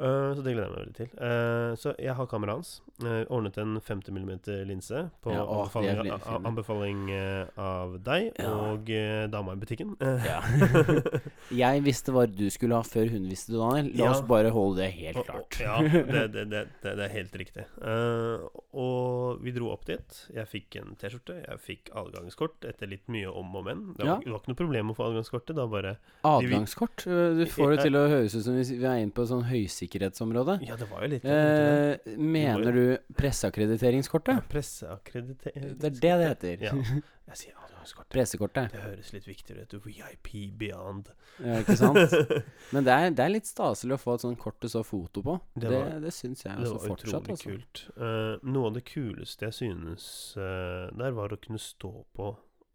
Speaker 1: Eh, så det gleder jeg meg veldig til. Eh, så jeg har kameraet hans. Eh, ordnet en 50 mm linse på
Speaker 2: Ja, å, det er
Speaker 1: anbefaling,
Speaker 2: veldig fin.
Speaker 1: a- anbefaling eh, av deg
Speaker 2: Ja.
Speaker 1: og eh, dama i butikken. Eh,
Speaker 2: Ja. Jeg visste hva du skulle ha før hun visste det, Daniel. La
Speaker 1: Ja.
Speaker 2: oss bare holde det helt
Speaker 1: og-
Speaker 2: klart.
Speaker 1: og- Ja, det, det, det, det, det er helt riktig. Eh, og vi dro opp dit. Jeg fikk en T-skjorte, jeg fikk adgangskort etter litt mye om og men. Det var,
Speaker 2: Ja.
Speaker 1: det var ikke noe problem å få adgangskortet. Da bare
Speaker 2: Adgangskort? Eh, Du får det til å høres ut som hvis vi er inne på et sånn høysikkerhetsområde.
Speaker 1: Ja, det var jo litt
Speaker 2: Eh,
Speaker 1: Vi må
Speaker 2: mener du presseakkediteringskortet?
Speaker 1: Presseakkreditering
Speaker 2: Det er det det heter.
Speaker 1: Ja. Jeg sier adgangskortet.
Speaker 2: Pressekortet,
Speaker 1: Det høres litt viktigere ut. VIP beyond.
Speaker 2: ja, ikke sant? Men det er, det er litt staselig å få et sånt kort du så foto på.
Speaker 1: Det
Speaker 2: Det,
Speaker 1: var-
Speaker 2: det, syns jeg
Speaker 1: Det
Speaker 2: også
Speaker 1: var
Speaker 2: fortsatt.
Speaker 1: utrolig
Speaker 2: Altså.
Speaker 1: kult. Eh, noe av det kuleste jeg synes eh, der, var å kunne stå på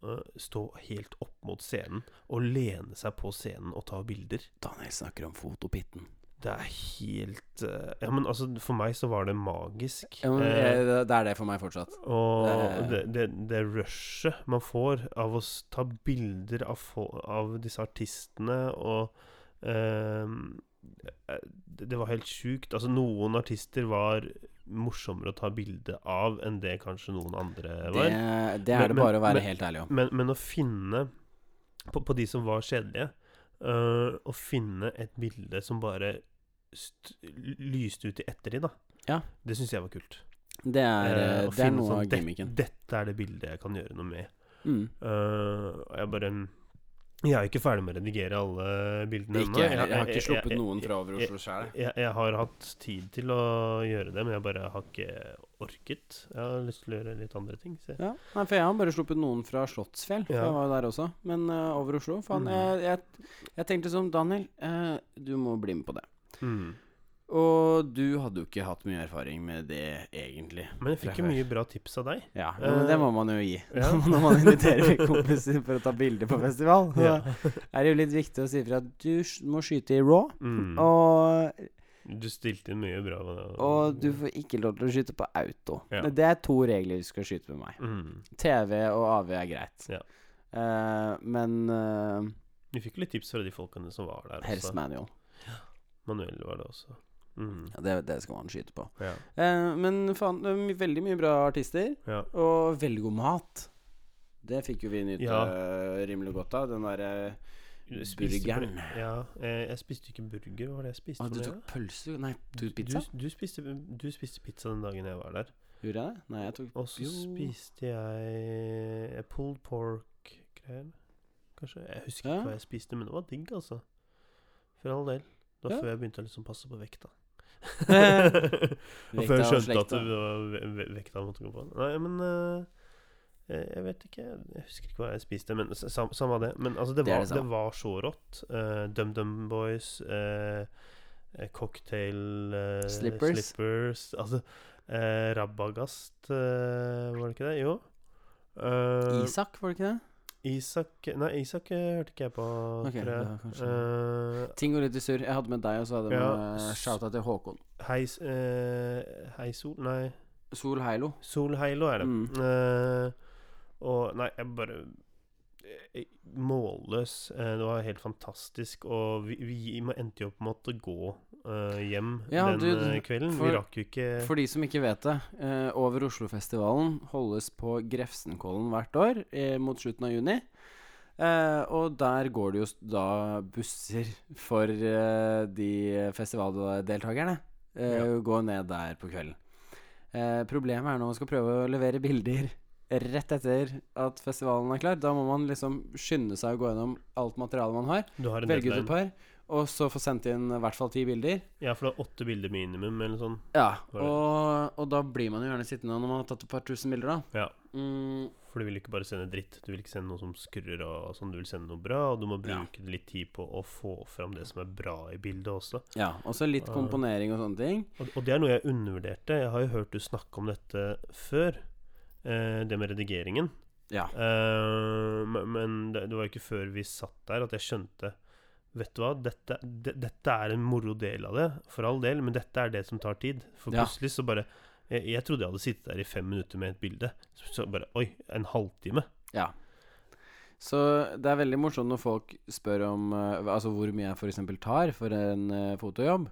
Speaker 1: eh, Stå helt opp mot scenen og lene seg på scenen og ta bilder.
Speaker 2: Daniel snakker om fotopitten.
Speaker 1: Det er helt eh, Ja, men altså, for meg så var det magisk.
Speaker 2: Ja, men,
Speaker 1: Eh,
Speaker 2: eh, det det er det for meg fortsatt.
Speaker 1: og det,
Speaker 2: det-
Speaker 1: det, det rushet man får av å s- ta bilder av, fo- av disse artistene og eh, eh, det, det var helt sjukt. Altså, noen artister var morsommere å ta bilde av enn det kanskje noen andre
Speaker 2: Det,
Speaker 1: var.
Speaker 2: det
Speaker 1: Men-
Speaker 2: er det
Speaker 1: men-
Speaker 2: bare å være
Speaker 1: men-
Speaker 2: helt ærlig om.
Speaker 1: Men, men å finne på, på de som var kjedelige øh, Å finne et bilde som bare st lyste ut i ettertid, da.
Speaker 2: Ja.
Speaker 1: Det syns jeg var kult.
Speaker 2: Det er,
Speaker 1: Eh,
Speaker 2: eh,
Speaker 1: å
Speaker 2: det er
Speaker 1: finne
Speaker 2: noe
Speaker 1: sånn,
Speaker 2: av
Speaker 1: «Det-
Speaker 2: gimmicken.
Speaker 1: Dette er det bildet jeg kan gjøre noe med.
Speaker 2: Mm.
Speaker 1: Øh, og jeg bare Jeg er ikke ferdig med å redigere alle bildene
Speaker 2: Ikke jeg heller. Jeg har
Speaker 1: jeg-
Speaker 2: ikke sluppet
Speaker 1: jeg-
Speaker 2: noen fra over
Speaker 1: jeg-
Speaker 2: Oslo sjæl.
Speaker 1: Jeg, jeg har hatt tid til å gjøre det, men jeg bare har ikke orket. Jeg har lyst til å gjøre litt andre ting. Så jeg-
Speaker 2: Ja, Nei, for jeg har bare sluppet noen fra Slottsfjell. for
Speaker 1: Ja.
Speaker 2: Jeg var jo der også. Men eh, over Oslo Faen.
Speaker 1: Mm.
Speaker 2: Jeg, jeg, jeg tenkte som Daniel, eh, du må bli med på det.
Speaker 1: mm.
Speaker 2: Og du hadde jo ikke hatt mye erfaring med det, egentlig.
Speaker 1: Men jeg fikk jo
Speaker 2: Fra før.
Speaker 1: mye bra tips av deg.
Speaker 2: Ja, men det må man jo gi.
Speaker 1: Ja.
Speaker 2: Når man inviterer kompiser for å ta bilder på festival, så
Speaker 1: Ja.
Speaker 2: er det jo litt viktig å si fra at du sk- må skyte i raw.
Speaker 1: Mm.
Speaker 2: Og,
Speaker 1: Du stilte inn mye bra.
Speaker 2: og du får ikke lov til å skyte på auto.
Speaker 1: Ja.
Speaker 2: Det er to regler du skal skyte med meg.
Speaker 1: mm.
Speaker 2: TV og AV er greit.
Speaker 1: Ja.
Speaker 2: Eh, men eh,
Speaker 1: Vi fikk jo litt tips fra de folkene som var der.
Speaker 2: Hells
Speaker 1: Også.
Speaker 2: Manual,
Speaker 1: Manuel var det også. Mm.
Speaker 2: ja, det, det skal man skyte på.
Speaker 1: Ja.
Speaker 2: Eh, men faen, det er my- veldig mye bra artister.
Speaker 1: Ja.
Speaker 2: Og veldig god mat. Det fikk jo vi nyte
Speaker 1: Ja.
Speaker 2: eh, rimelig godt av. Den derre
Speaker 1: Jeg spiste
Speaker 2: Burgeren.
Speaker 1: bur- Ja, eh, jeg spiste ikke burger. Hva var det jeg spiste?
Speaker 2: ah, Du
Speaker 1: for
Speaker 2: tok
Speaker 1: noe?
Speaker 2: pølse? Nei, du tok pizza?
Speaker 1: Du, du, spiste, du spiste pizza den dagen jeg var der.
Speaker 2: Gjorde jeg det? Nei, jeg tok
Speaker 1: Og så
Speaker 2: Jo.
Speaker 1: spiste jeg eh, pulled pork-greier. Kanskje. Jeg husker
Speaker 2: Ja.
Speaker 1: ikke hva jeg spiste, men det var digg, altså. For all del. Det var
Speaker 2: Ja.
Speaker 1: før jeg begynte å liksom passe på vekta. og
Speaker 2: Vekta
Speaker 1: før jeg
Speaker 2: og
Speaker 1: skjønte at
Speaker 2: slekta.
Speaker 1: det var ve- ve- vekta måtte gå på. Nei, men eh, eh, jeg vet ikke. Jeg husker ikke hva jeg spiste, men s- sam, samme det. Men altså, det
Speaker 2: Det er
Speaker 1: var,
Speaker 2: det
Speaker 1: det
Speaker 2: samme.
Speaker 1: var så rått. Eh, DumDum Boys, eh, eh, Cocktail eh,
Speaker 2: Slippers.
Speaker 1: slippers altså, eh, Rabagast, eh, var det ikke det? Jo. Eh,
Speaker 2: Isak, var det ikke det?
Speaker 1: Isak Nei, Isak eh, hørte ikke jeg på, tror
Speaker 2: Ok,
Speaker 1: jeg.
Speaker 2: ja, kanskje.
Speaker 1: Eh,
Speaker 2: Ting går litt i surr. Jeg hadde med deg, og så hadde jeg
Speaker 1: Ja,
Speaker 2: med
Speaker 1: s-
Speaker 2: shouta til Håkon.
Speaker 1: hei, s- eh, hei, Sol Nei.
Speaker 2: Sol Heilo.
Speaker 1: Solheilo er det.
Speaker 2: Mm.
Speaker 1: Eh, og nei, jeg bare jeg- Målløs. Eh, det var helt fantastisk. Og vi, vi endte jo opp med å måtte gå eh, hjem
Speaker 2: Ja,
Speaker 1: den
Speaker 2: du-
Speaker 1: eh, kvelden.
Speaker 2: for-
Speaker 1: vi rakk jo ikke
Speaker 2: For de som ikke vet det, eh, over Oslofestivalen holdes på Grefsenkollen hvert år eh, mot slutten av juni. Eh, og der går det jo s- da busser for eh, de festivaldeltakerne. Eh,
Speaker 1: Ja.
Speaker 2: Gå ned der på kvelden. Eh, problemet er når man skal prøve å levere bilder rett etter at festivalen er klar. Da må man liksom skynde seg å gå gjennom alt materialet man har,
Speaker 1: Du har en
Speaker 2: velge ut
Speaker 1: deadline.
Speaker 2: et par, og så få sendt inn i hvert fall ti bilder.
Speaker 1: Ja, for det er åtte bilder minimum, eller sånn.
Speaker 2: Ja,
Speaker 1: Var det.
Speaker 2: og, og da blir man jo gjerne sittende når man har tatt et par tusen bilder, da.
Speaker 1: Ja.
Speaker 2: Mm,
Speaker 1: For du vil ikke bare sende dritt. Du vil ikke sende noe som skurrer og sånn. Du vil sende noe bra, og du må
Speaker 2: Ja.
Speaker 1: bruke litt tid på å få fram det som er bra i bildet også.
Speaker 2: ja, og så litt
Speaker 1: Ah.
Speaker 2: komponering og sånne ting.
Speaker 1: Og, og det er noe jeg undervurderte. Jeg har jo hørt du snakke om dette før. Eh, det med redigeringen.
Speaker 2: Ja.
Speaker 1: Eh, men- men det, det var jo ikke før vi satt der at jeg skjønte Vet du hva, dette, de, dette er en moro del av det, for all del, men dette er det som tar tid. For
Speaker 2: Ja.
Speaker 1: plutselig så bare jeg, jeg trodde jeg hadde sittet der i fem minutter med et bilde. Så, så bare Oi, en halvtime.
Speaker 2: ja. Så det er veldig morsomt når folk spør om eh, altså hvor mye jeg f.eks. tar for en eh, fotojobb.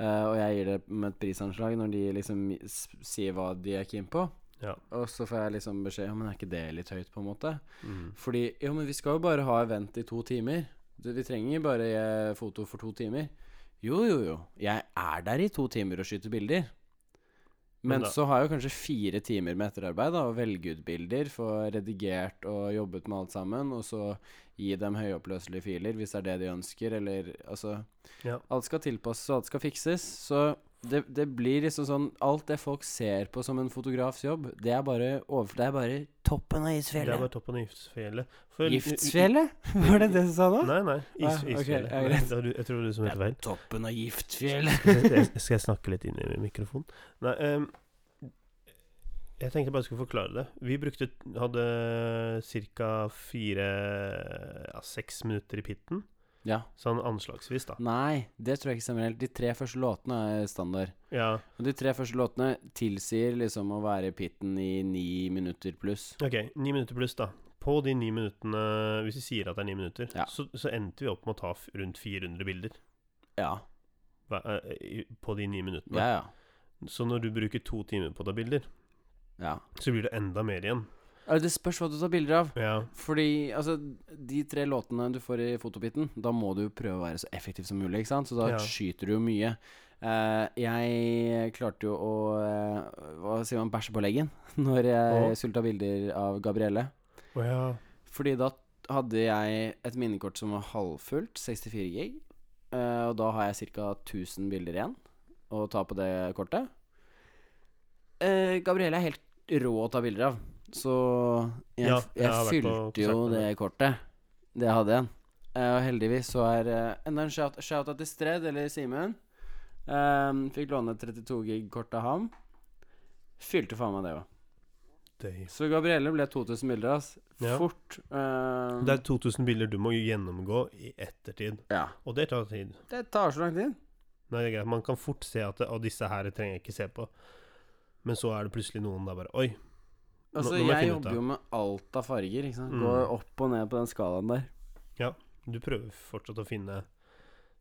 Speaker 2: Eh, og jeg gir det med et prisanslag når de liksom s- sier hva de er keen på.
Speaker 1: Ja.
Speaker 2: Og så får jeg liksom beskjed om men er ikke det litt høyt, på en måte.
Speaker 1: Mm.
Speaker 2: Fordi jo, men vi skal jo bare ha event i to timer. Du, vi trenger bare eh, foto for to timer. Jo, jo, jo. Jeg er der i to timer og skyter bilder.
Speaker 1: Men
Speaker 2: Men
Speaker 1: da-
Speaker 2: så har jeg jo kanskje fire timer med etterarbeid da, og velge ut bilder, få redigert og jobbet med alt sammen, og så gi dem høyoppløselige filer hvis det er det de ønsker, eller altså
Speaker 1: Ja.
Speaker 2: Alt skal tilpasses, og alt skal fikses. Så det, det blir liksom sånn Alt det folk ser på som en fotografs jobb, det er bare, overf- det er bare toppen av
Speaker 1: Det er
Speaker 2: isfjellet.
Speaker 1: bare toppen av giftsfjellet. For-
Speaker 2: Giftsfjellet? Var det det du sa nå?
Speaker 1: Nei, nei. Is,
Speaker 2: Ah, ok,
Speaker 1: isfjellet.
Speaker 2: ja,
Speaker 1: Nei,
Speaker 2: greit.
Speaker 1: det var du- jeg tror du som heter feil.
Speaker 2: Toppen av giftfjellet.
Speaker 1: jeg, skal jeg snakke litt inn i mikrofonen? Nei, ehm, jeg tenkte jeg bare skulle forklare det. Vi brukte, hadde ca. fire ja, seks minutter i pitten.
Speaker 2: Ja.
Speaker 1: Sånn anslagsvis, da.
Speaker 2: Nei, det tror jeg ikke stemmer helt. De tre første låtene er standard.
Speaker 1: Ja,
Speaker 2: Og de tre første låtene tilsier liksom å være i pitten i ni minutter pluss.
Speaker 1: ok. Ni minutter pluss, da. På de ni minuttene, hvis vi sier at det er ni minutter,
Speaker 2: Ja.
Speaker 1: så, så endte vi opp med å ta f- rundt 400 bilder
Speaker 2: Ja.
Speaker 1: hver- eh, i- på de ni minuttene.
Speaker 2: Ja, ja.
Speaker 1: Så når du bruker to timer på å ta bilder,
Speaker 2: ja.
Speaker 1: så blir det enda mer igjen.
Speaker 2: Ja, Det spørs hva du tar bilder av.
Speaker 1: Ja.
Speaker 2: Fordi altså, de tre låtene du får i fotopitten, da må du jo prøve å være så effektiv som mulig, ikke sant? Så da
Speaker 1: Ja.
Speaker 2: skyter du jo mye. Eh, jeg klarte jo å eh, Hva sier man? Bæsje på leggen når
Speaker 1: Å.
Speaker 2: jeg sulta bilder av Gabrielle.
Speaker 1: Å ja.
Speaker 2: Fordi da hadde jeg et minnekort som var halvfullt, 64 gig. eh, og da har jeg ca. 1000 bilder igjen å ta på det kortet. Uh, Gabrielle er helt rå å ta bilder av, så jeg,
Speaker 1: Ja,
Speaker 2: jeg,
Speaker 1: jeg har vært
Speaker 2: fylte
Speaker 1: på konsert
Speaker 2: jo
Speaker 1: med
Speaker 2: det kortet. Det jeg hadde igjen. Eh, og heldigvis så er eh, enda en shout- shout-out til Stred eller Simen. Ehm, fikk låne 32 gig-kort av ham. Fylte faen meg det òg.
Speaker 1: Damn.
Speaker 2: Så Gabrielle ble 2000 bilder, ass.
Speaker 1: Ja.
Speaker 2: Fort. ehm,
Speaker 1: Det er 2000 bilder du må gjennomgå i ettertid,
Speaker 2: ja.
Speaker 1: og det tar tid.
Speaker 2: Det tar så lang tid.
Speaker 1: Nei, det er greit. Man kan fort se at Og disse her trenger jeg ikke se på. Men så er det plutselig noen der bare Oi. Nå-
Speaker 2: Altså,
Speaker 1: nå må jeg
Speaker 2: jeg
Speaker 1: finne ut
Speaker 2: jobber
Speaker 1: av.
Speaker 2: jo med alt av farger. Ikke sant?
Speaker 1: Mm.
Speaker 2: Går opp og ned på den skalaen der.
Speaker 1: Du prøver fortsatt å finne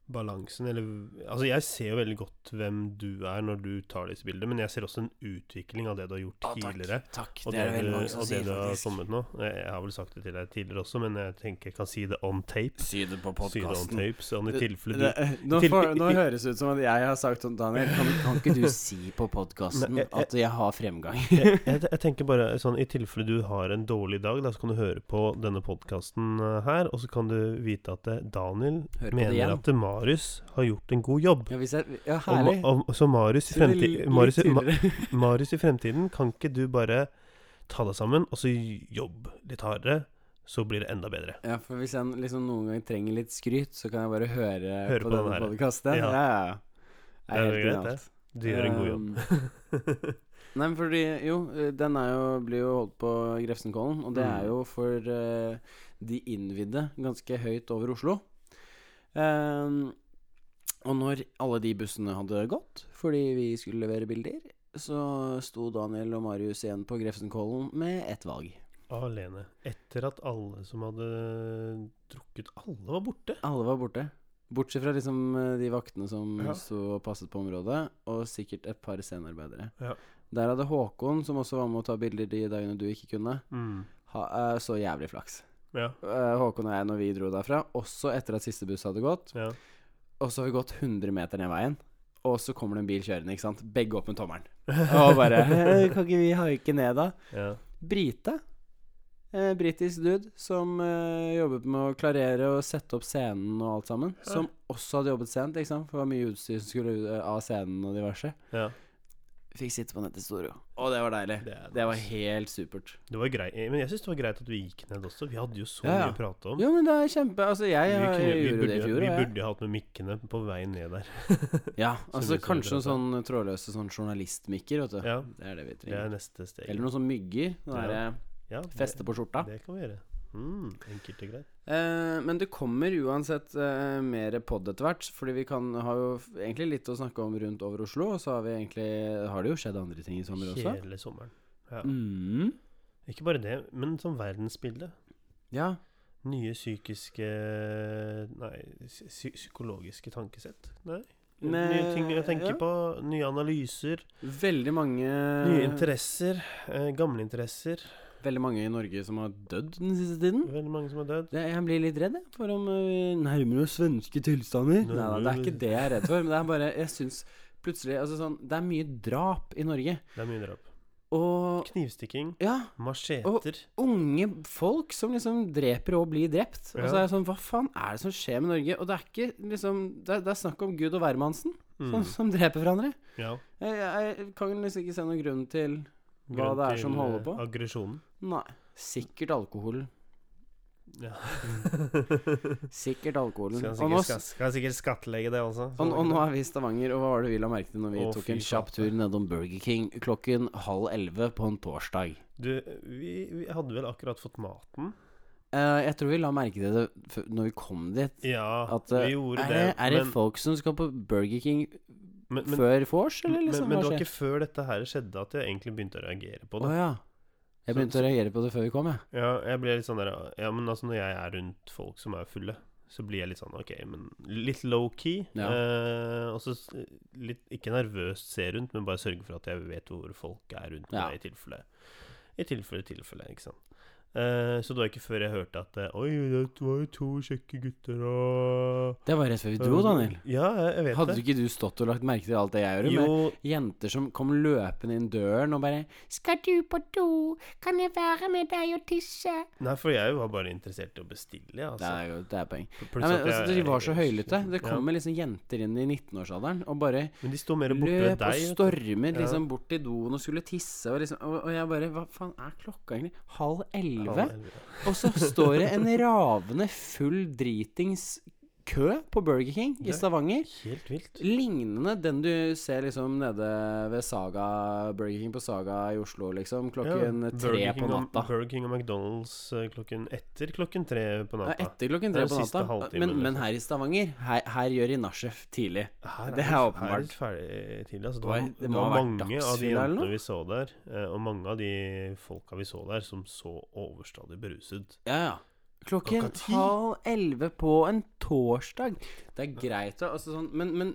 Speaker 1: balansen, eller Altså, jeg ser jo veldig godt hvem du er når du tar disse bildene, men jeg ser også en utvikling av det du har gjort tidligere.
Speaker 2: Takk.
Speaker 1: Og Ah, det, du, og det du har sånn kommet nå. Jeg jeg har vel sagt det til deg tidligere også, men jeg tenker jeg kan si det on tape.
Speaker 2: Si det på
Speaker 1: Si det on tape, sånn i
Speaker 2: Det-
Speaker 1: tilfelle du
Speaker 2: Det, eh, nå,
Speaker 1: til-
Speaker 2: får, nå høres det ut som at jeg har sagt sånn Daniel, kan, kan ikke du si på podkasten
Speaker 1: Nei, jeg-
Speaker 2: at jeg har fremgang?
Speaker 1: jeg, jeg jeg tenker bare sånn I tilfelle du har en dårlig dag, da, så kan du høre på denne podkasten her, og så kan du vite at eh, Daniel
Speaker 2: Hør på det
Speaker 1: mener
Speaker 2: igjen.
Speaker 1: at eh, Marius har gjort en god jobb.
Speaker 2: Ja, hvis jeg, ja
Speaker 1: Og
Speaker 2: herlig.
Speaker 1: ma- og- så Marius i,
Speaker 2: Si det
Speaker 1: fremti
Speaker 2: litt
Speaker 1: Marius, i- Ma
Speaker 2: tydeligere.
Speaker 1: Marius i fremtiden, kan ikke du bare ta deg sammen, og så jobb litt hardere, så blir det enda bedre.
Speaker 2: Ja, for hvis jeg liksom noen gang trenger litt skryt, så kan jeg bare høre,
Speaker 1: Høre
Speaker 2: på,
Speaker 1: på den
Speaker 2: denne
Speaker 1: her.
Speaker 2: podkasten.
Speaker 1: Ja.
Speaker 2: Ja, ja, ja. Det
Speaker 1: Det
Speaker 2: er
Speaker 1: er
Speaker 2: helt
Speaker 1: jo greit,
Speaker 2: altså. genialt.
Speaker 1: Du gjør en god jobb.
Speaker 2: Um, Nei, men fordi Jo, eh, den er jo, blir jo holdt på Grefsenkollen, og det
Speaker 1: Mm.
Speaker 2: er jo for eh, de innvidde ganske høyt over Oslo. Um, og når alle de bussene hadde gått fordi vi skulle levere bilder, så sto Daniel og Marius igjen på Grefsenkollen med ett valg.
Speaker 1: Alene. Etter at alle som hadde drukket Alle var borte.
Speaker 2: Alle var borte. Bortsett fra liksom eh, de vaktene som
Speaker 1: Ja.
Speaker 2: sto og passet på området, og sikkert et par scenearbeidere.
Speaker 1: Ja.
Speaker 2: Der hadde Håkon, som også var med å ta bilder de dagene du ikke kunne,
Speaker 1: Mm.
Speaker 2: ha, eh, så jævlig flaks.
Speaker 1: Ja.
Speaker 2: Eh, Håkon og jeg, når vi dro derfra, også etter at siste buss hadde gått,
Speaker 1: ja.
Speaker 2: og så har vi gått 100 meter ned veien, og så kommer det en bil kjørende, ikke sant? Begge opp med tommelen. Og bare «Eh, Kan ikke vi haike ned, da?
Speaker 1: ja.
Speaker 2: Brite. Eh, Britisk dude som eh, jobbet med å klarere og sette opp scenen og alt sammen.
Speaker 1: Ja.
Speaker 2: Som også hadde jobbet sent, ikke sant? for det var mye utstyr som skulle ut- eh, av scenen og diverse.
Speaker 1: ja.
Speaker 2: Fikk sitte på nettet store. Og det var deilig.
Speaker 1: Det er
Speaker 2: Det var
Speaker 1: nice.
Speaker 2: helt supert.
Speaker 1: Altså, Det var greit, men jeg syns det var greit at du gikk ned også. Vi hadde jo så
Speaker 2: Ja, ja.
Speaker 1: mye å prate om.
Speaker 2: Jo, men det er kjempe Altså, jeg,
Speaker 1: vi, kunne, vi,
Speaker 2: gjorde
Speaker 1: burde,
Speaker 2: det i fjor.
Speaker 1: vi
Speaker 2: og jeg-
Speaker 1: burde hatt med mikkene på vei ned der.
Speaker 2: Ja, altså
Speaker 1: mye som
Speaker 2: kanskje noen
Speaker 1: mulig,
Speaker 2: sånn trådløse sånn journalistmikker, vet du.
Speaker 1: Ja,
Speaker 2: Det er det vi
Speaker 1: Det er
Speaker 2: trenger.
Speaker 1: neste steg.
Speaker 2: Eller noen sånn mygger. Sånn
Speaker 1: Ja.
Speaker 2: derre
Speaker 1: ja, det-
Speaker 2: feste på skjorta.
Speaker 1: Det kan vi gjøre. Mm, enkelt og greit.
Speaker 2: Eh, men det kommer uansett eh, mer pod etter hvert, fordi vi kan, har jo f- egentlig litt å snakke om rundt over Oslo, og så har, vi egentlig, har det jo skjedd andre ting i sommer også.
Speaker 1: Hele sommeren. Ja.
Speaker 2: Mm.
Speaker 1: Ikke bare det, men sånn verdensbilde.
Speaker 2: Ja.
Speaker 1: Nye psykiske Nei, psy psykologiske tankesett. Nei. nye
Speaker 2: Nei,
Speaker 1: ting å tenke
Speaker 2: eh, ja. Eh.
Speaker 1: på. Nye analyser.
Speaker 2: Veldig mange
Speaker 1: Nye interesser. Eh, gamle interesser.
Speaker 2: Veldig mange i Norge som har dødd den siste tiden.
Speaker 1: Veldig mange som har dødd.
Speaker 2: Det- Jeg blir litt redd jeg, for om eh, vi nærmer oss svenske tilstander.
Speaker 1: Nå-
Speaker 2: Nei da, det er
Speaker 1: nå-
Speaker 2: ikke det jeg er redd for, men det er bare Jeg syns plutselig altså sånn, Det er mye drap i Norge.
Speaker 1: Det er mye drap.
Speaker 2: Og
Speaker 1: Knivstikking.
Speaker 2: ja,
Speaker 1: Macheter.
Speaker 2: unge folk som liksom dreper og blir drept. Og
Speaker 1: Ja.
Speaker 2: så er jeg sånn, hva faen er det som skjer med Norge? Og det er ikke liksom Det er, det er snakk om Gud og hvermannsen som,
Speaker 1: Mm.
Speaker 2: som dreper hverandre.
Speaker 1: Ja.
Speaker 2: Jeg, jeg, jeg kan liksom ikke se noen grunn til Hva
Speaker 1: Grunn
Speaker 2: det er som
Speaker 1: til,
Speaker 2: holder
Speaker 1: eh,
Speaker 2: på.
Speaker 1: Aggresjonen.
Speaker 2: Nei. Sikkert alkoholen.
Speaker 1: Ja.
Speaker 2: Sikkert alkoholen.
Speaker 1: skal,
Speaker 2: Og nå,
Speaker 1: sikkert, skat- skal sikkert skattlegge det også.
Speaker 2: og, og nå er vi i Stavanger, og hva var det vi la merke til når vi
Speaker 1: Å,
Speaker 2: tok
Speaker 1: fy
Speaker 2: en kjapp
Speaker 1: flate.
Speaker 2: tur nedom Burger King klokken halv elleve på en torsdag?
Speaker 1: Du, vi, vi hadde vel akkurat fått maten?
Speaker 2: Eh, jeg tror vi la merke til det f- når vi kom dit.
Speaker 1: Ja,
Speaker 2: At, eh,
Speaker 1: vi gjorde
Speaker 2: Er det,
Speaker 1: det.
Speaker 2: er det
Speaker 1: men-
Speaker 2: folk som skal på Burger King
Speaker 1: men, men,
Speaker 2: før vors, eller
Speaker 1: men,
Speaker 2: liksom?
Speaker 1: men det
Speaker 2: hva
Speaker 1: var
Speaker 2: skjer?
Speaker 1: ikke før dette her skjedde at jeg egentlig begynte å reagere på
Speaker 2: Å
Speaker 1: det.
Speaker 2: ja. Jeg
Speaker 1: Så-
Speaker 2: begynte å reagere på det før vi kom, jeg.
Speaker 1: Ja, jeg ble litt sånn der Ja, men altså, når jeg er rundt folk som er fulle, så blir jeg litt sånn OK, men litt low-key.
Speaker 2: Ja.
Speaker 1: Eh, og så s- litt Ikke nervøst se rundt, men bare sørge for at jeg vet hvor folk er rundt
Speaker 2: Ja.
Speaker 1: meg, i tilfelle I tilfelle tilfelle, ikke sant. Eh, så det var ikke før jeg hørte at eh, Oi, det var jo to kjekke gutter og
Speaker 2: Det var rett før vi dro, Daniel.
Speaker 1: Ja, jeg- jeg vet
Speaker 2: Hadde
Speaker 1: det.
Speaker 2: ikke du stått og lagt merke til alt det jeg gjør? Med
Speaker 1: Jo,
Speaker 2: jenter som kom løpende inn døren og bare
Speaker 3: 'Skal du på do? Kan jeg være med deg og tisse?'
Speaker 1: nei, for jeg var bare interessert i å bestille, jeg,
Speaker 2: Det
Speaker 1: altså.
Speaker 2: er, jo- det er poeng.
Speaker 1: Pluss
Speaker 2: Nei, men,
Speaker 1: at
Speaker 2: altså,
Speaker 1: jeg-
Speaker 2: de var så høylytte. Det
Speaker 1: Ja.
Speaker 2: kommer liksom jenter inn i 19-årsalderen og bare
Speaker 1: Men de sto mer borte ved
Speaker 2: løp og
Speaker 1: deg. vet du.
Speaker 2: stormet
Speaker 1: Ja.
Speaker 2: liksom bort til doen og skulle tisse. Og, liksom, og, og jeg bare Hva faen er klokka egentlig? Halv elleve?
Speaker 1: Ja,
Speaker 2: Og så står det en ravende full dritings kø på Burger King i
Speaker 1: Det-
Speaker 2: Stavanger.
Speaker 1: Helt vilt.
Speaker 2: Lignende den du ser liksom nede ved Saga Burger King på Saga i Oslo, liksom. Klokken
Speaker 1: Ja,
Speaker 2: tre
Speaker 1: Burger King
Speaker 2: på
Speaker 1: og-
Speaker 2: natta.
Speaker 1: Burger King og McDonald's eh, klokken etter klokken tre på
Speaker 2: Ja,
Speaker 1: natta.
Speaker 2: etter
Speaker 1: Det
Speaker 2: klokken tre
Speaker 1: er
Speaker 2: på
Speaker 1: den siste
Speaker 2: natta.
Speaker 1: halvtimen,
Speaker 2: Men, men
Speaker 1: liksom.
Speaker 2: her i Stavanger, her, her gjør de nachsjef tidlig.
Speaker 1: Her
Speaker 2: Det er
Speaker 1: jo-
Speaker 2: åpenbart.
Speaker 1: Her er det ferdig tidlig. Altså, det, var,
Speaker 2: Oi, det
Speaker 1: det,
Speaker 2: må
Speaker 1: var
Speaker 2: ha vært
Speaker 1: mange av de
Speaker 2: dagsfylla eller noe?
Speaker 1: jentene vi så der, eh, og mange av de folka vi så der, som så overstadig beruset.
Speaker 2: Ja, ja. Klokken
Speaker 1: Klokka ti.
Speaker 2: halv elleve på en torsdag. Det er greit, å- altså sånn, men, men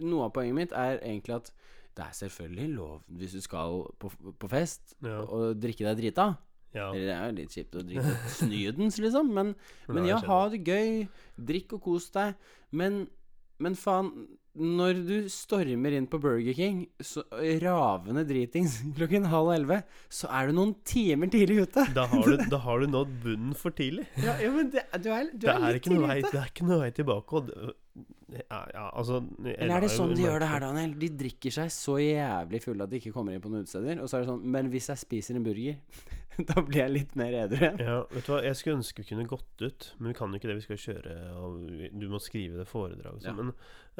Speaker 2: noe av poenget mitt er egentlig at det er selvfølgelig lov hvis du skal på, på fest
Speaker 1: Ja.
Speaker 2: og drikke deg drita.
Speaker 1: Ja.
Speaker 2: Eller det er jo litt kjipt å drikke snydens, liksom, men, men
Speaker 1: det
Speaker 2: ja,
Speaker 1: skjedde.
Speaker 2: ha det gøy. Drikk og kos deg. Men, men faen, når du stormer inn på Burger King så ravende dritings klokken halv elleve, så er du noen timer tidlig ute.
Speaker 1: Da har, du, da har du nådd bunnen for tidlig.
Speaker 2: Ja, ja men det, du er, du
Speaker 1: Det
Speaker 2: er
Speaker 1: er,
Speaker 2: litt
Speaker 1: ikke noe vei,
Speaker 2: tidlig ute.
Speaker 1: det er ikke noe vei tilbake. Og det, ja, ja, altså, jeg
Speaker 2: Eller er det
Speaker 1: la jo
Speaker 2: sånn de
Speaker 1: merke
Speaker 2: gjør det
Speaker 1: til-
Speaker 2: her, Daniel? De drikker seg så jævlig fulle at de ikke kommer inn på noen utesteder. Og så er det sånn Men hvis jeg spiser en burger, da blir jeg litt mer edru igjen.
Speaker 1: Ja, vet du hva, Jeg skulle ønske vi kunne gått ut, men vi kan jo ikke det. Vi skal kjøre, og vi- du må skrive det foredraget. og sånn,
Speaker 2: Ja.
Speaker 1: Men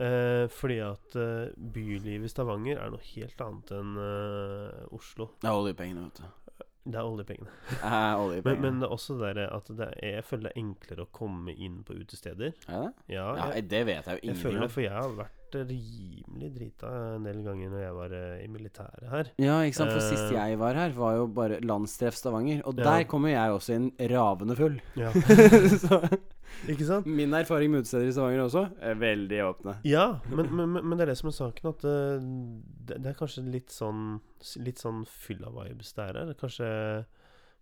Speaker 1: eh, fordi at eh, bylivet i Stavanger er noe helt annet enn eh, Oslo.
Speaker 2: Det er oljepengene, vet du.
Speaker 1: Det er oljepengene.
Speaker 2: Det er oljepengene.
Speaker 1: Men, men det er også det der at det er, jeg føler det er enklere å komme inn på utesteder.
Speaker 2: er det det?
Speaker 1: Ja,
Speaker 2: Ja,
Speaker 1: jeg,
Speaker 2: det vet jeg jo
Speaker 1: jeg
Speaker 2: ingenting
Speaker 1: føler det,
Speaker 2: om.
Speaker 1: for jeg har vært rimelig drita en del ganger når jeg var eh, i militæret her.
Speaker 2: Ja, ikke sant. For sist
Speaker 1: Eh.
Speaker 2: jeg var her, var jo bare Landstreff Stavanger. Og
Speaker 1: Ja.
Speaker 2: der kommer jeg også inn ravende full.
Speaker 1: Ja.
Speaker 2: så
Speaker 1: Ikke sant?
Speaker 2: min erfaring med utesteder i Stavanger også er veldig åpne.
Speaker 1: Ja, men, men, men men det er det som er saken, at eh, det, det er kanskje litt sånn Litt sånn fylla-vibes det er her. Kanskje,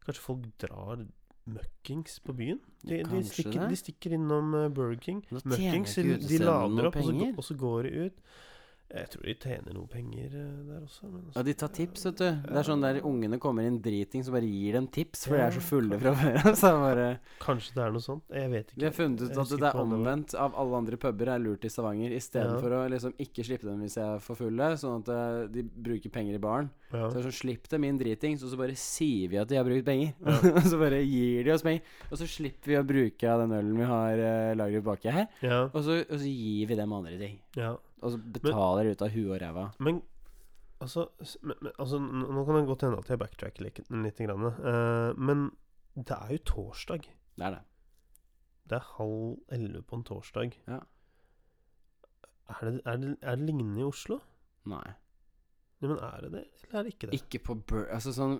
Speaker 1: kanskje folk drar møkkings på byen? De, de,
Speaker 2: Kanskje
Speaker 1: stikker,
Speaker 2: det.
Speaker 1: de stikker innom eh, Burger King.
Speaker 2: Nå tjener
Speaker 1: Møkkings,
Speaker 2: ikke
Speaker 1: de, de
Speaker 2: utestedene noe
Speaker 1: lader opp, og så,
Speaker 2: penger.
Speaker 1: gå- og så går de ut. Jeg tror de tjener noe penger eh, der også. Men altså,
Speaker 2: Ja, de tar tips, vet du. Det er sånn der ungene kommer inn driting, så bare gir dem tips, for de er så
Speaker 1: Ja.
Speaker 2: fulle fra før av. Så er det bare
Speaker 1: Kanskje det er noe sånt? Jeg vet ikke.
Speaker 2: Vi har funnet
Speaker 1: Jeg
Speaker 2: ut at
Speaker 1: husker
Speaker 2: det er
Speaker 1: ikke hva det var.
Speaker 2: omvendt av alle andre puber er lurt i Stavanger.
Speaker 1: Ja.
Speaker 2: Istedenfor å liksom ikke slippe dem hvis jeg er for fulle, sånn at eh, de bruker penger i baren. Så
Speaker 1: Ja.
Speaker 2: er det sånn, Slipp dem inn dritings, og så bare sier vi at de har brukt penger. Og så bare gir de oss penger. Og så slipper vi å bruke av den ølen vi har uh, lagret baki her.
Speaker 1: Ja,
Speaker 2: Og så, og så gir vi dem andre ting.
Speaker 1: ja.
Speaker 2: Og så betaler de ut av huet og ræva.
Speaker 1: Men altså, s- men, men, altså n- Nå kan det godt hende at jeg backtracker litt, litt grann, eh, men det er jo torsdag.
Speaker 2: Det er det.
Speaker 1: Det er halv elleve på en torsdag.
Speaker 2: Ja.
Speaker 1: Er det, er, det, er det lignende i Oslo?
Speaker 2: Nei.
Speaker 1: Ja, men er det det, eller er det ikke det?
Speaker 2: Ikke på bur... Altså sånn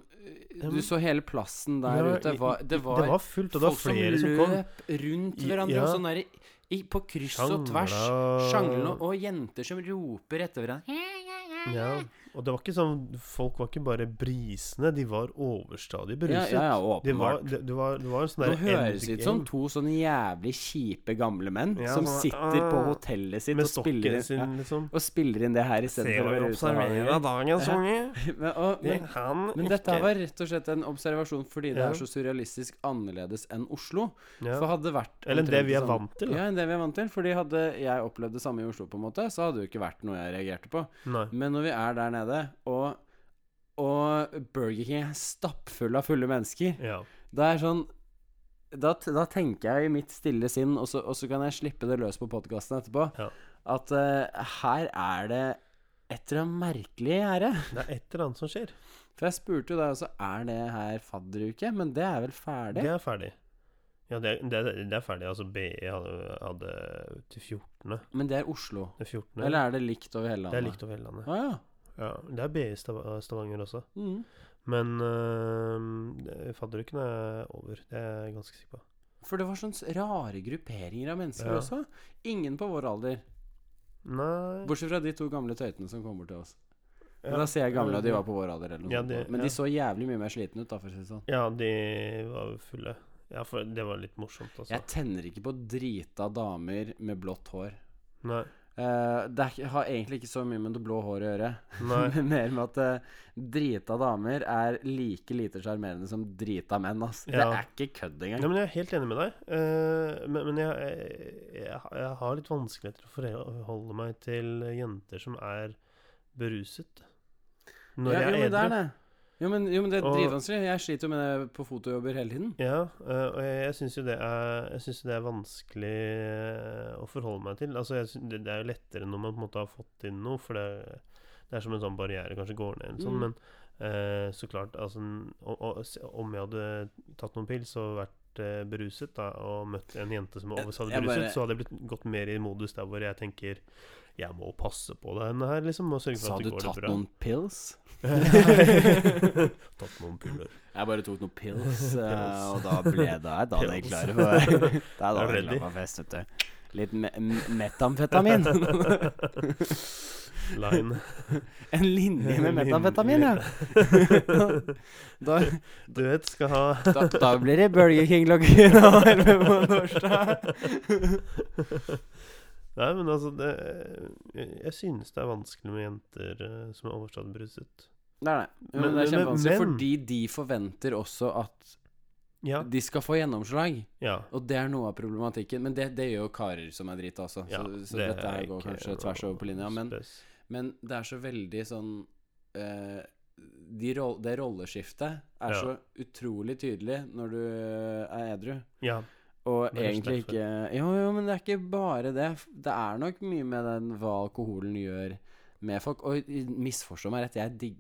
Speaker 1: Ja,
Speaker 2: Du
Speaker 1: men-
Speaker 2: så hele plassen der
Speaker 1: Ja,
Speaker 2: ute.
Speaker 1: i-
Speaker 2: Var, det var
Speaker 1: det var fullt, og det var flere som, kom.
Speaker 2: løp rundt
Speaker 1: I-
Speaker 2: hverandre
Speaker 1: ja.
Speaker 2: og sånn der, i, i, på kryss og tvers.
Speaker 1: Sjangla-
Speaker 2: Sjanglende og jenter som roper etter hverandre.
Speaker 3: Ja, ja, ja, ja.
Speaker 1: Ja. Og det var ikke sånn Folk var ikke bare brisende, de var overstadig
Speaker 2: Ja,
Speaker 1: beruset.
Speaker 2: ja, ja,
Speaker 1: Det var,
Speaker 2: åpenbart.
Speaker 1: det, det var, det var en sånn
Speaker 2: Nå
Speaker 1: der
Speaker 2: høres det
Speaker 1: endgame
Speaker 2: ut som to sånne jævlig kjipe gamle menn
Speaker 1: Ja,
Speaker 2: som
Speaker 1: sånn,
Speaker 2: sitter på
Speaker 1: ah,
Speaker 2: hotellet sitt
Speaker 1: Med
Speaker 2: og spiller,
Speaker 1: stokken
Speaker 2: inn,
Speaker 1: sin,
Speaker 2: ja,
Speaker 1: liksom.
Speaker 2: og spiller inn det her istedenfor å være ute. og ha det gøy.
Speaker 1: dagens
Speaker 2: Ja.
Speaker 1: unge.
Speaker 2: Men, og, men,
Speaker 1: kan
Speaker 2: men dette her var rett og slett en observasjon fordi det
Speaker 1: Ja.
Speaker 2: er så surrealistisk annerledes enn Oslo. For
Speaker 1: ja.
Speaker 2: hadde det vært
Speaker 1: Eller det
Speaker 2: omtrent
Speaker 1: vi er
Speaker 2: samme-
Speaker 1: vant til. Da.
Speaker 2: Ja, enn det vi er vant til. Fordi hadde jeg opplevd det samme i Oslo, på en måte, så hadde det jo ikke vært noe jeg reagerte på.
Speaker 1: Nei.
Speaker 2: Men når vi er der nede, og, og Burger King er stappfull av fulle mennesker,
Speaker 1: Ja.
Speaker 2: da er sånn da, t- da tenker jeg i mitt stille sinn, og så, og så kan jeg slippe det løs på podkasten etterpå,
Speaker 1: Ja.
Speaker 2: at eh, her er det et eller annet merkelig gjerde.
Speaker 1: Det er et eller annet som skjer.
Speaker 2: For jeg spurte jo deg også, er det her fadderuke? Men det er vel ferdig?
Speaker 1: Det er ferdig. Ja, det, er- det, er- det er ferdig. Altså, BI hadde, hadde til 14.
Speaker 2: Men det er Oslo.
Speaker 1: Det 14.
Speaker 2: Eller er det likt over hele
Speaker 1: det er
Speaker 2: landet?
Speaker 1: likt over hele landet.
Speaker 2: Å ja.
Speaker 1: Ja, det er BI i Stava- Stavanger også.
Speaker 2: Mm.
Speaker 1: Men øh, det- fadderuken er over. Det er jeg ganske sikker på.
Speaker 2: For det var sånne rare grupperinger av mennesker
Speaker 1: Ja.
Speaker 2: også. Ingen på vår alder.
Speaker 1: Nei
Speaker 2: Bortsett fra de to gamle tøytene som kom bort til oss. Men
Speaker 1: Ja.
Speaker 2: Da ser jeg gamle, og de var på vår alder. Eller noe
Speaker 1: Ja,
Speaker 2: sånt.
Speaker 1: det-
Speaker 2: Men
Speaker 1: ja.
Speaker 2: de så jævlig mye mer slitne ut, da, for å si det sånn.
Speaker 1: Ja, de var fulle. Ja, for det var litt morsomt, altså.
Speaker 2: Jeg tenner ikke på drita damer med blått hår.
Speaker 1: Nei.
Speaker 2: Eh, det er, ikke- har egentlig ikke så mye med det blå håret å gjøre.
Speaker 1: Nei.
Speaker 2: Men mer med at eh, drita damer er like lite sjarmerende som drita menn. ass.
Speaker 1: Ja.
Speaker 2: Det er ikke kødd engang.
Speaker 1: Ja, men jeg er helt enig med deg. eh, men men jeg, jeg, jeg, jeg har litt vanskeligheter for å forholde meg til jenter som er beruset. Når
Speaker 2: ja, jo,
Speaker 1: jeg
Speaker 2: men
Speaker 1: er
Speaker 2: det er
Speaker 1: edru.
Speaker 2: det. Jo, men, jo, men det er
Speaker 1: Og-
Speaker 2: dritvanskelig. Jeg sliter jo med det på fotojobber hele tiden.
Speaker 1: Ja, eh, og jeg, jeg syns jo det er Jeg synes jo det er vanskelig eh, å forholde meg til. Altså, jeg, syn- det, det er jo lettere når man på en måte har fått inn noe, for det, det er som en sånn barriere kanskje går ned eller sånn,
Speaker 2: Mm.
Speaker 1: men eh, så klart altså, n- og, og, s- Om jeg hadde tatt noen pils og vært eh, beruset da, og møtt en jente som er over- så hadde
Speaker 2: Jeg
Speaker 1: beruset,
Speaker 2: bare-
Speaker 1: så hadde jeg blitt gått mer i modus der hvor jeg tenker jeg må passe på denne her, liksom, og sørge for
Speaker 2: Sa
Speaker 1: at
Speaker 2: du
Speaker 1: det går det
Speaker 2: tatt
Speaker 1: bra.
Speaker 2: noen pills?
Speaker 1: tatt noen puller.
Speaker 2: Jeg bare tok noen pills,
Speaker 1: Pills.
Speaker 2: eh, og da ble det da er jeg
Speaker 1: Pills.
Speaker 2: klar for Da er
Speaker 1: Da er
Speaker 2: jeg
Speaker 1: du
Speaker 2: klar
Speaker 1: ready.
Speaker 2: for fest, vet du. Litt me m- metamfetamin.
Speaker 1: Line.
Speaker 2: en linje med metamfetamin, ja. Da,
Speaker 1: Du vet, skal ha
Speaker 2: da, da blir det Burger King klokken halv elleve på torsdag.
Speaker 1: Nei, men altså det, Jeg jeg synes det er vanskelig med jenter eh, som er overstadig beruset.
Speaker 2: Nei, nei. Men,
Speaker 1: Men-
Speaker 2: det er
Speaker 1: men-
Speaker 2: kjempevanskelig,
Speaker 1: men-
Speaker 2: fordi de forventer også at
Speaker 1: Ja.
Speaker 2: de skal få gjennomslag.
Speaker 1: ja.
Speaker 2: Og det er noe av problematikken. Men det, det gjør jo karer som er drita også.
Speaker 1: ja
Speaker 2: så så
Speaker 1: det
Speaker 2: dette
Speaker 1: er
Speaker 2: her går
Speaker 1: ikke altså.
Speaker 2: kanskje
Speaker 1: noe
Speaker 2: tvers over på linja. Men
Speaker 1: spes.
Speaker 2: Men det er så veldig sånn eh, de roll, Det rolleskiftet er
Speaker 1: Ja.
Speaker 2: så utrolig tydelig når du er edru.
Speaker 1: Ja.
Speaker 2: Og
Speaker 1: Det er kanskje
Speaker 2: egentlig
Speaker 1: derfor.
Speaker 2: ikke Jo, jo, men det er ikke bare det. F- Det er nok mye med den hva alkoholen gjør med folk. Og i- misforstå meg rett, jeg digg,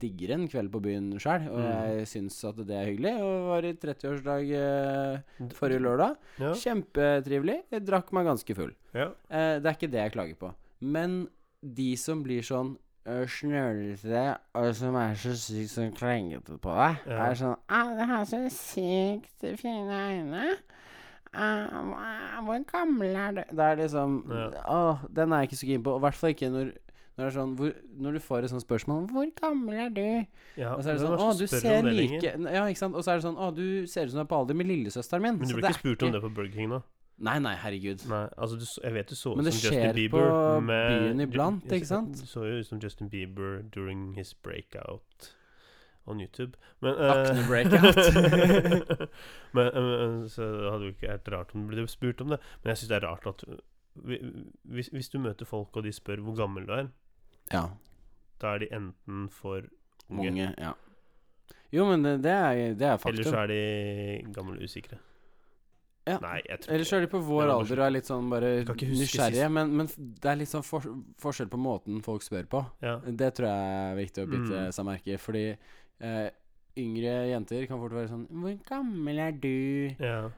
Speaker 2: digger en kveld på byen sjøl, og
Speaker 1: Mm.
Speaker 2: jeg syns at det er hyggelig. Og var i 30-årsdag eh, forrige lørdag.
Speaker 1: Ja.
Speaker 2: Kjempetrivelig. Jeg drakk meg ganske full.
Speaker 1: ja.
Speaker 2: Eh, det er ikke det jeg klager på. Men de som blir sånn eh, snølete, og som er så sykt sånn klengete på deg,
Speaker 1: Ja.
Speaker 2: er sånn Alle har så sykt fine øyne. Ah, hva- hvor gammel er du? Det er liksom
Speaker 1: Ja.
Speaker 2: Åh, den er jeg ikke så keen på. Og i hvert fall ikke når, når, det er sånn, hvor, når du får et sånt spørsmål Hvor gammel er du?
Speaker 1: ja.
Speaker 2: Og så er det
Speaker 1: Hvem
Speaker 2: sånn
Speaker 1: som
Speaker 2: Å, du
Speaker 1: spør om
Speaker 2: ser
Speaker 1: det
Speaker 2: like
Speaker 1: lenger?
Speaker 2: Ja, ikke sant? Og så er det sånn Å, du ser ut som du er på alder med lillesøsteren min.
Speaker 1: Men du
Speaker 2: Så
Speaker 1: blir
Speaker 2: det
Speaker 1: ikke
Speaker 2: er
Speaker 1: spurt om det på Burger King, da?
Speaker 2: Nei, nei, herregud.
Speaker 1: Nei, altså du, s- jeg vet du så ut som
Speaker 2: Men det skjer
Speaker 1: Justin Bieber
Speaker 2: på
Speaker 1: med-
Speaker 2: byen
Speaker 1: du-
Speaker 2: iblant,
Speaker 1: jeg-
Speaker 2: ikke sant?
Speaker 1: Du så jo ut som Justin Bieber during his breakout on YouTube. Men
Speaker 2: Akne
Speaker 1: eh,
Speaker 2: breakout.
Speaker 1: men eh, så det hadde jo ikke vært rart om du ble spurt om det. Men jeg syns det er rart at hvi- hvis, hvis du møter folk og de spør hvor gammel du er,
Speaker 2: Ja.
Speaker 1: da er de enten for unge,
Speaker 2: Mange, ja. Jo, men det, det, er, det er
Speaker 1: eller så
Speaker 2: faktum.
Speaker 1: er de gamle og usikre.
Speaker 2: Ja.
Speaker 1: Nei, jeg tror
Speaker 2: Eller så er de på vår
Speaker 1: Det var
Speaker 2: alder og er litt sånn bare
Speaker 1: Jeg kan ikke huske
Speaker 2: nysgjerrige.
Speaker 1: sist.
Speaker 2: Men, men det er litt sånn for, forskjell på måten folk spør på.
Speaker 1: ja.
Speaker 2: Det tror jeg er viktig å bite
Speaker 1: Mm.
Speaker 2: seg merke i. Fordi eh, yngre jenter kan fort være sånn 'Hvor gammel er du?'
Speaker 1: Ja,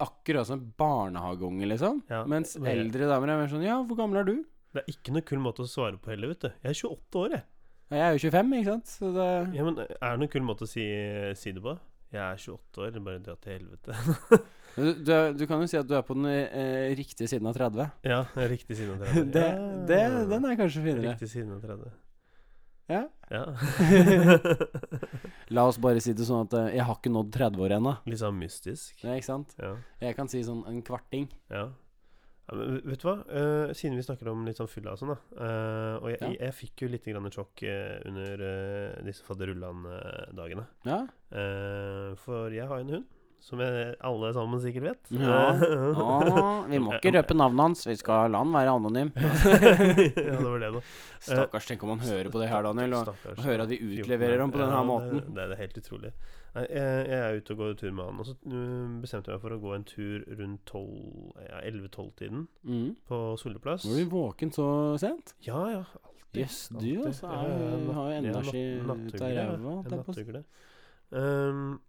Speaker 2: Akkurat som en barnehageunge, liksom.
Speaker 1: ja.
Speaker 2: Mens
Speaker 1: Men jeg-
Speaker 2: eldre damer er mer sånn 'Ja, hvor gammel er du?'
Speaker 1: Det er ikke noe kul måte å svare på heller, vet du. Jeg er 28 år, jeg.
Speaker 2: Ja, Jeg er jo 25, ikke sant? Så det
Speaker 1: Ja, men er det noen kul måte å si, si det på? Jeg er 28 år, bare dra til helvete.
Speaker 2: du, du, er- du kan jo si at du er på den eh, riktige siden av 30.
Speaker 1: ja, riktig siden av 30.
Speaker 2: Det,
Speaker 1: Ja.
Speaker 2: det, den er kanskje finere.
Speaker 1: Riktig siden av 30.
Speaker 2: Ja.
Speaker 1: Ja.
Speaker 2: La oss bare si det sånn at eh, jeg har ikke nådd 30 år ennå.
Speaker 1: Litt sånn mystisk.
Speaker 2: Nei, ikke sant?
Speaker 1: Ja.
Speaker 2: Jeg kan si sånn en kvarting.
Speaker 1: ja. ja men vet du hva? Eh, siden vi snakker om litt sånn fylla og sånn, da. eh, og jeg,
Speaker 2: Ja.
Speaker 1: jeg, fikk jo litt grann et sjokk eh, under eh, disse fadderullan-dagene.
Speaker 2: Ja.
Speaker 1: Eh, for jeg har en hund, som jeg, alle sammen sikkert vet.
Speaker 2: Ja. Å, vi må ikke røpe navnet hans. Vi skal la han være anonym.
Speaker 1: ja, det var det, da.
Speaker 2: Stakkars, tenk om han hører på det her, Daniel. Og,
Speaker 1: Stakkars.
Speaker 2: og hører at vi utleverer ham på denne
Speaker 1: Ja,
Speaker 2: her måten.
Speaker 1: Det, det er helt utrolig. Nei, jeg, jeg er ute og går tur med han, og så uh, bestemte jeg meg for å gå en tur rundt 12 ja, 11-12-tiden
Speaker 2: Mm.
Speaker 1: på Solleplass.
Speaker 2: Var du våken så sent?
Speaker 1: Ja, ja. Alltid.
Speaker 2: Jøss, du
Speaker 1: alltid.
Speaker 2: altså
Speaker 1: Ja, ja,
Speaker 2: er,
Speaker 1: natt-
Speaker 2: har jo
Speaker 1: jeg er
Speaker 2: energi
Speaker 1: natt-
Speaker 2: ut av
Speaker 1: nattugle, ja.
Speaker 2: ræva.
Speaker 1: Jeg
Speaker 2: det
Speaker 1: er
Speaker 2: er på-
Speaker 1: nattugle. Ehm,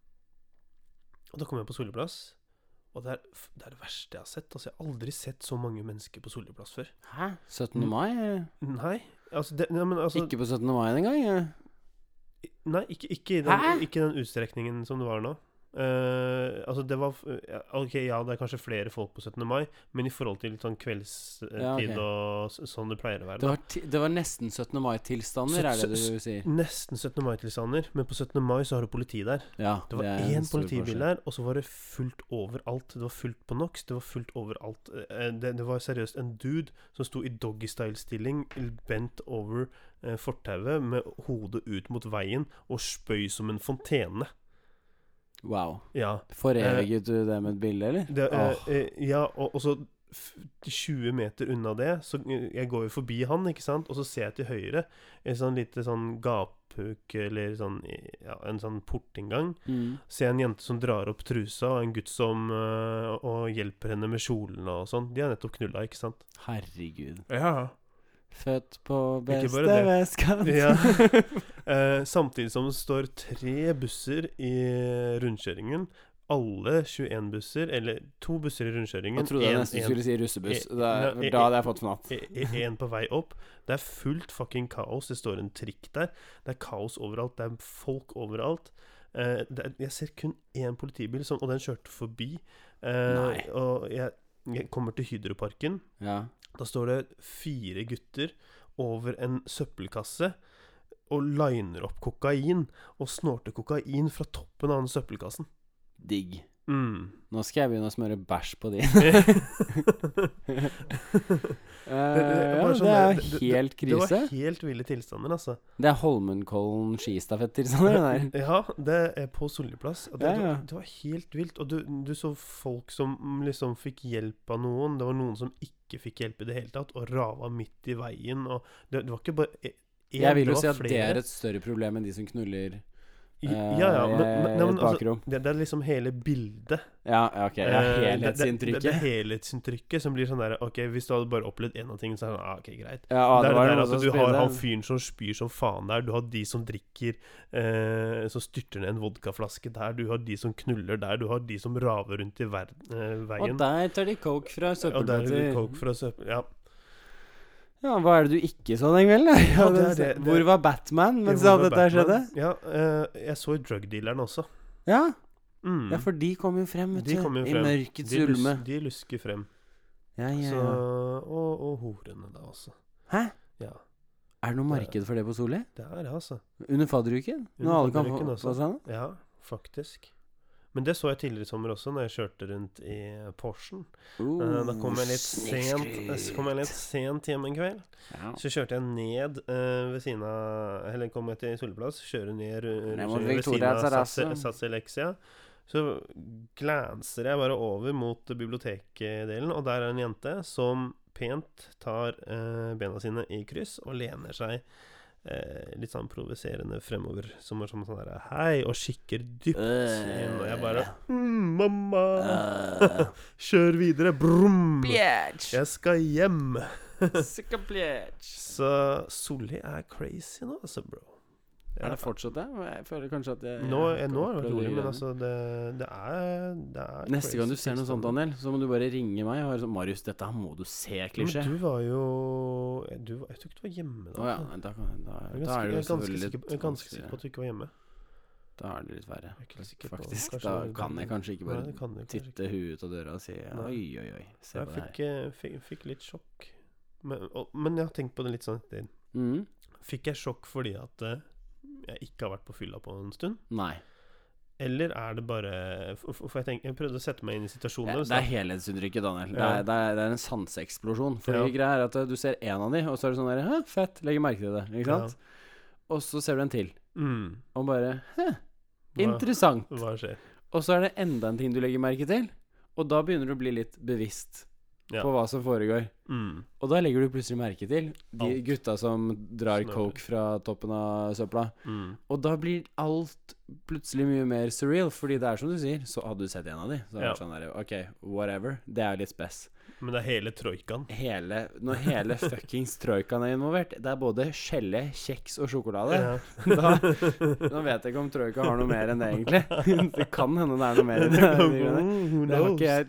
Speaker 1: og da kom jeg på Solleplass, og det er, f- det er det verste jeg har sett. Altså, jeg har aldri sett så mange mennesker på Solleplass før.
Speaker 2: Hæ? 17. mai? eh?
Speaker 1: Nei, altså, det, nei, men Mm. altså
Speaker 2: Ikke på 17. mai engang? eh?
Speaker 1: Nei, ikke, ikke, i
Speaker 2: Hæ?
Speaker 1: den, ikke i den utstrekningen som det var nå. Eh, altså det var f- ja, Ok, ja, det er kanskje flere folk på 17. mai, men i forhold til sånn kveldstid
Speaker 2: Ja, ok.
Speaker 1: og s- sånn det pleier å være.
Speaker 2: Det
Speaker 1: Da.
Speaker 2: var, ti- det var nesten 17. mai-tilstander, er det det du sier?
Speaker 1: Nesten 17. mai-tilstander, men på 17. mai så har du politi der.
Speaker 2: Ja,
Speaker 1: Det var
Speaker 2: er en
Speaker 1: én
Speaker 2: stor
Speaker 1: politibil
Speaker 2: forskjell.
Speaker 1: der, og så var det fullt overalt. Det var fullt på NOx, det var fullt overalt. Eh, Det, det var seriøst en dude som sto i doggystyle-stilling, bent over eh, fortauet, med hodet ut mot veien, og spøy som en fontene.
Speaker 2: Wow.
Speaker 1: Ja.
Speaker 2: Foreviget du det med et bilde, eller?
Speaker 1: Det, eh,
Speaker 2: Åh.
Speaker 1: eh, ja, og, og så f- 20 meter unna det, så eh, jeg går jo forbi han, ikke sant, og så ser jeg til høyre en sånn lite sånn gaphuk eller sånn ja, en sånn portinngang.
Speaker 2: Mm.
Speaker 1: Ser en jente som drar opp trusa, og en gutt som øh, og hjelper henne med kjolen og sånn. De har nettopp knulla, ikke sant?
Speaker 2: Herregud.
Speaker 1: Ja.
Speaker 2: Født på
Speaker 1: Ikke
Speaker 2: beste
Speaker 1: bare det.
Speaker 2: vestkant.
Speaker 1: Ja. Eh, samtidig som det står tre busser i rundkjøringen. Alle 21 busser, eller to busser i rundkjøringen.
Speaker 2: Jeg trodde jeg
Speaker 1: en-
Speaker 2: nesten
Speaker 1: en-
Speaker 2: skulle si russebuss.
Speaker 1: en-
Speaker 2: Det er,
Speaker 1: nei,
Speaker 2: da
Speaker 1: en-
Speaker 2: hadde jeg fått fnatt.
Speaker 1: e- e- en på vei opp. Det er fullt fucking kaos. Det står en trikk der. Det er kaos overalt. Det er folk overalt. Eh, det er, jeg ser kun én politibil, som, og den kjørte forbi. Eh,
Speaker 2: Nei.
Speaker 1: og jeg, jeg kommer til Hydroparken.
Speaker 2: Ja.
Speaker 1: Da står det fire gutter over en søppelkasse og liner opp kokain, og snorter kokain fra toppen av den søppelkassen.
Speaker 2: Digg.
Speaker 1: Mm.
Speaker 2: Nå skal jeg begynne å smøre bæsj på de. Eh, ja,
Speaker 1: bare sånn
Speaker 2: det er
Speaker 1: der- det-
Speaker 2: jo
Speaker 1: det-
Speaker 2: helt
Speaker 1: Det var
Speaker 2: krise.
Speaker 1: helt ville tilstander, altså.
Speaker 2: Det er Holmenkollen skistafetter, sånn det der.
Speaker 1: Ja, det er på Solliplass. Og det,
Speaker 2: Ja, ja.
Speaker 1: det var helt vilt. Og du, du så folk som liksom fikk hjelp av noen. Det var noen som ikke fikk hjelp i det hele tatt, og rava midt i veien. Og det, det var ikke bare én,
Speaker 2: Jeg vil
Speaker 1: det
Speaker 2: jo
Speaker 1: var
Speaker 2: si at det
Speaker 1: flere.
Speaker 2: er et større problem enn de som knuller eh,
Speaker 1: Ja, ja, men, men, nei,
Speaker 2: i
Speaker 1: men
Speaker 2: et
Speaker 1: altså,
Speaker 2: bakrom.
Speaker 1: det, det er liksom hele bildet.
Speaker 2: Ja, ja, ok. Ja,
Speaker 1: Eh, det- Det, det, det
Speaker 2: helhetsinntrykket.
Speaker 1: er helhetsinntrykket som blir sånn der Ok, hvis du hadde bare opplevd én av tingene, så er det sånn, ah, ok, greit.
Speaker 2: Ja, ah,
Speaker 1: det
Speaker 2: det
Speaker 1: er
Speaker 2: var
Speaker 1: det der
Speaker 2: jo noen
Speaker 1: at
Speaker 2: som
Speaker 1: du har
Speaker 2: spydde.
Speaker 1: han fyren som spyr som faen der, du har de som drikker eh, Som styrter ned en vodkaflaske der, du har de som knuller der, du har de som raver rundt i ver eh,
Speaker 2: Og
Speaker 1: veien.
Speaker 2: der tar de coke fra
Speaker 1: Og der er det
Speaker 2: søppelbøtter.
Speaker 1: coke fra søppel... Ja.
Speaker 2: Ja, hva er det du ikke så den kvelden? da?
Speaker 1: Ja, det er det- det-
Speaker 2: Hvor var Batman mens alt dette her skjedde?
Speaker 1: Ja, eh, jeg så drugdealeren også.
Speaker 2: Ja,
Speaker 1: Mm.
Speaker 2: ja, for de kom jo frem, vet
Speaker 1: De
Speaker 2: du.
Speaker 1: kom jo
Speaker 2: I
Speaker 1: frem.
Speaker 2: mørkets
Speaker 1: de, lus
Speaker 2: ulme.
Speaker 1: de lusker frem.
Speaker 2: Ja, ja,
Speaker 1: Så,
Speaker 2: ja.
Speaker 1: og, og horene da også.
Speaker 2: Hæ?
Speaker 1: Ja.
Speaker 2: Er det noe marked for det på Solli?
Speaker 1: Det er det, altså.
Speaker 2: Under fadderuken? Når
Speaker 1: Under
Speaker 2: alle kan få
Speaker 1: fadderuken
Speaker 2: på
Speaker 1: også.
Speaker 2: seg noe?
Speaker 1: Ja, faktisk. Men det så jeg tidligere i sommer også, når jeg kjørte rundt i Porschen. Eh, Da kom jeg litt sent, Eh, så kom jeg litt sent hjem en kveld.
Speaker 2: Ja.
Speaker 1: Så kjørte jeg ned eh, ved siden av Eller kom jeg til Solplass, kjører ned ru-
Speaker 2: Ned
Speaker 1: ru-
Speaker 2: mot
Speaker 1: ved siden
Speaker 2: Victoria
Speaker 1: av
Speaker 2: terrasse.
Speaker 1: Sats- Sats Elexia. Så glanser jeg bare over mot bibliotekdelen, og der er en jente som pent tar eh, bena sine i kryss og lener seg eh, litt sånn provoserende fremover, som er som sånn der Hei, og kikker dypt inn, og jeg bare mm, Mamma! Kjør videre! Brum! Jeg skal hjem! Så Solli er crazy nå, altså, bro.
Speaker 2: Er det fortsatt det? Jeg føler kanskje at jeg
Speaker 1: Nå, eh, nå er det
Speaker 2: opplevd
Speaker 1: rolig, men
Speaker 2: greiene.
Speaker 1: altså det, det er det er
Speaker 2: Neste gang du
Speaker 1: crazy
Speaker 2: ser noe sånt,
Speaker 1: tilstander.
Speaker 2: Daniel, så må du bare ringe meg og høre sånn Marius, dette her må du se, klisjé.
Speaker 1: Men du var jo du var, Jeg tror ikke du var hjemme da.
Speaker 2: Å ja, nei, da, kan- da,
Speaker 1: Jeg er
Speaker 2: da
Speaker 1: ganske, jeg
Speaker 2: er det
Speaker 1: er
Speaker 2: jo
Speaker 1: ganske,
Speaker 2: selvfølgelig
Speaker 1: sikker,
Speaker 2: litt
Speaker 1: jeg er ganske sikker på at
Speaker 2: vanskeligere.
Speaker 1: du ikke var hjemme.
Speaker 2: Da er det litt verre.
Speaker 1: Jeg er ikke sikker på-
Speaker 2: Faktisk.
Speaker 1: kanskje
Speaker 2: Da
Speaker 1: det-
Speaker 2: kan jeg kanskje ikke
Speaker 1: Nei,
Speaker 2: bare
Speaker 1: det kan du kanskje ikke.
Speaker 2: titte huet ut av døra og si
Speaker 1: Nei.
Speaker 2: oi, oi, oi, se
Speaker 1: Jeg
Speaker 2: på det her.
Speaker 1: fikk, eh, fikk, fikk litt sjokk. Men, og, men jeg har tenkt på det litt sånn etter.
Speaker 2: Mm.
Speaker 1: Fikk jeg sjokk fordi at eh, jeg ikke har vært på fylla på en stund?
Speaker 2: Nei.
Speaker 1: Eller er det bare For, for for jeg, tenk, jeg prøvde å sette meg inn i
Speaker 2: Det,
Speaker 1: situasjoner.
Speaker 2: det er helhetsinntrykket, Daniel. Det,
Speaker 1: Ja.
Speaker 2: er, det, er, det er en sanseeksplosjon. For
Speaker 1: Ja.
Speaker 2: det greia er at eh, du ser én av de, og så er det sånn der Hæ, fett, legger merke til det. Ikke sant? Og så ser du en til,
Speaker 1: så, mm,
Speaker 2: og bare Hæ,
Speaker 1: hva,
Speaker 2: interessant.
Speaker 1: hva skjer?
Speaker 2: Og så er det enda en ting du legger merke til, og da begynner du å bli litt bevisst
Speaker 1: Ja.
Speaker 2: på hva som foregår.
Speaker 1: Mm.
Speaker 2: Og da legger du plutselig merke til de
Speaker 1: Alt.
Speaker 2: gutta som drar
Speaker 1: Snører.
Speaker 2: coke fra toppen av søpla.
Speaker 1: Mm.
Speaker 2: Og da blir alt plutselig mye mer surreal, fordi det er som du sier, så hadde du sett en av de, så hadde det
Speaker 1: Ja.
Speaker 2: vært sånn der, ok, whatever, det er jo litt spes.
Speaker 1: Men det er hele troikaen.
Speaker 2: Hele, når hele fuckings troikaen er involvert, det er både skjelle, kjeks og sjokolade. Da, nå vet jeg ikke om troika har noe mer enn det egentlig. Det kan hende det er noe mer enn det. det.
Speaker 1: Oh, Who
Speaker 2: Det har
Speaker 1: knows?
Speaker 2: ikke jeg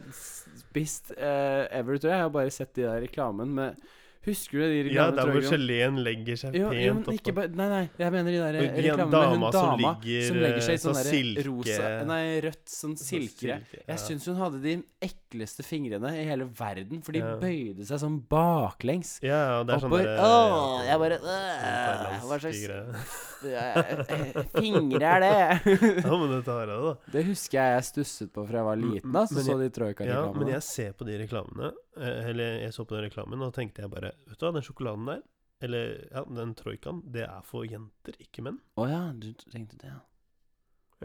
Speaker 2: spist eh, ever, tror jeg. Jeg har bare sett de der reklamen med Husker du de
Speaker 1: Ja,
Speaker 2: reklamene?
Speaker 1: der hvor
Speaker 2: troikaen?
Speaker 1: geleen legger seg
Speaker 2: Jo, jo, men
Speaker 1: pent
Speaker 2: ikke
Speaker 1: oppå.
Speaker 2: bare Nei, nei, jeg mener de
Speaker 1: Og
Speaker 2: der
Speaker 1: de
Speaker 2: reklamene med hun
Speaker 1: dama
Speaker 2: dama
Speaker 1: som
Speaker 2: som legger,
Speaker 1: ligger,
Speaker 2: seg
Speaker 1: eh,
Speaker 2: i sånn
Speaker 1: sånn
Speaker 2: derre
Speaker 1: silke-
Speaker 2: rosa Nei, rødt, sånn silkere.
Speaker 1: Ja.
Speaker 2: Jeg syns hun hadde de ekleste fingrene i hele verden, for de
Speaker 1: Ja.
Speaker 2: bøyde seg sånn baklengs.
Speaker 1: Ja, ja, det er sånn
Speaker 2: Oppover.
Speaker 1: derre
Speaker 2: Åh, jeg bare, øh, hva slags- eh, Fingre er det!
Speaker 1: Ja, men dette har jeg, da.
Speaker 2: det husker jeg jeg stusset på fra jeg var liten, da, så
Speaker 1: Men
Speaker 2: så de
Speaker 1: Ja, men
Speaker 2: troika-reklamene.
Speaker 1: jeg ser på de reklamene eh, Eller jeg så på den reklamen Og tenkte jeg bare Vet du hva, den sjokoladen der Eller ja, den troikaen Det er for jenter, ikke menn
Speaker 2: Å ja, du tenkte det, ja.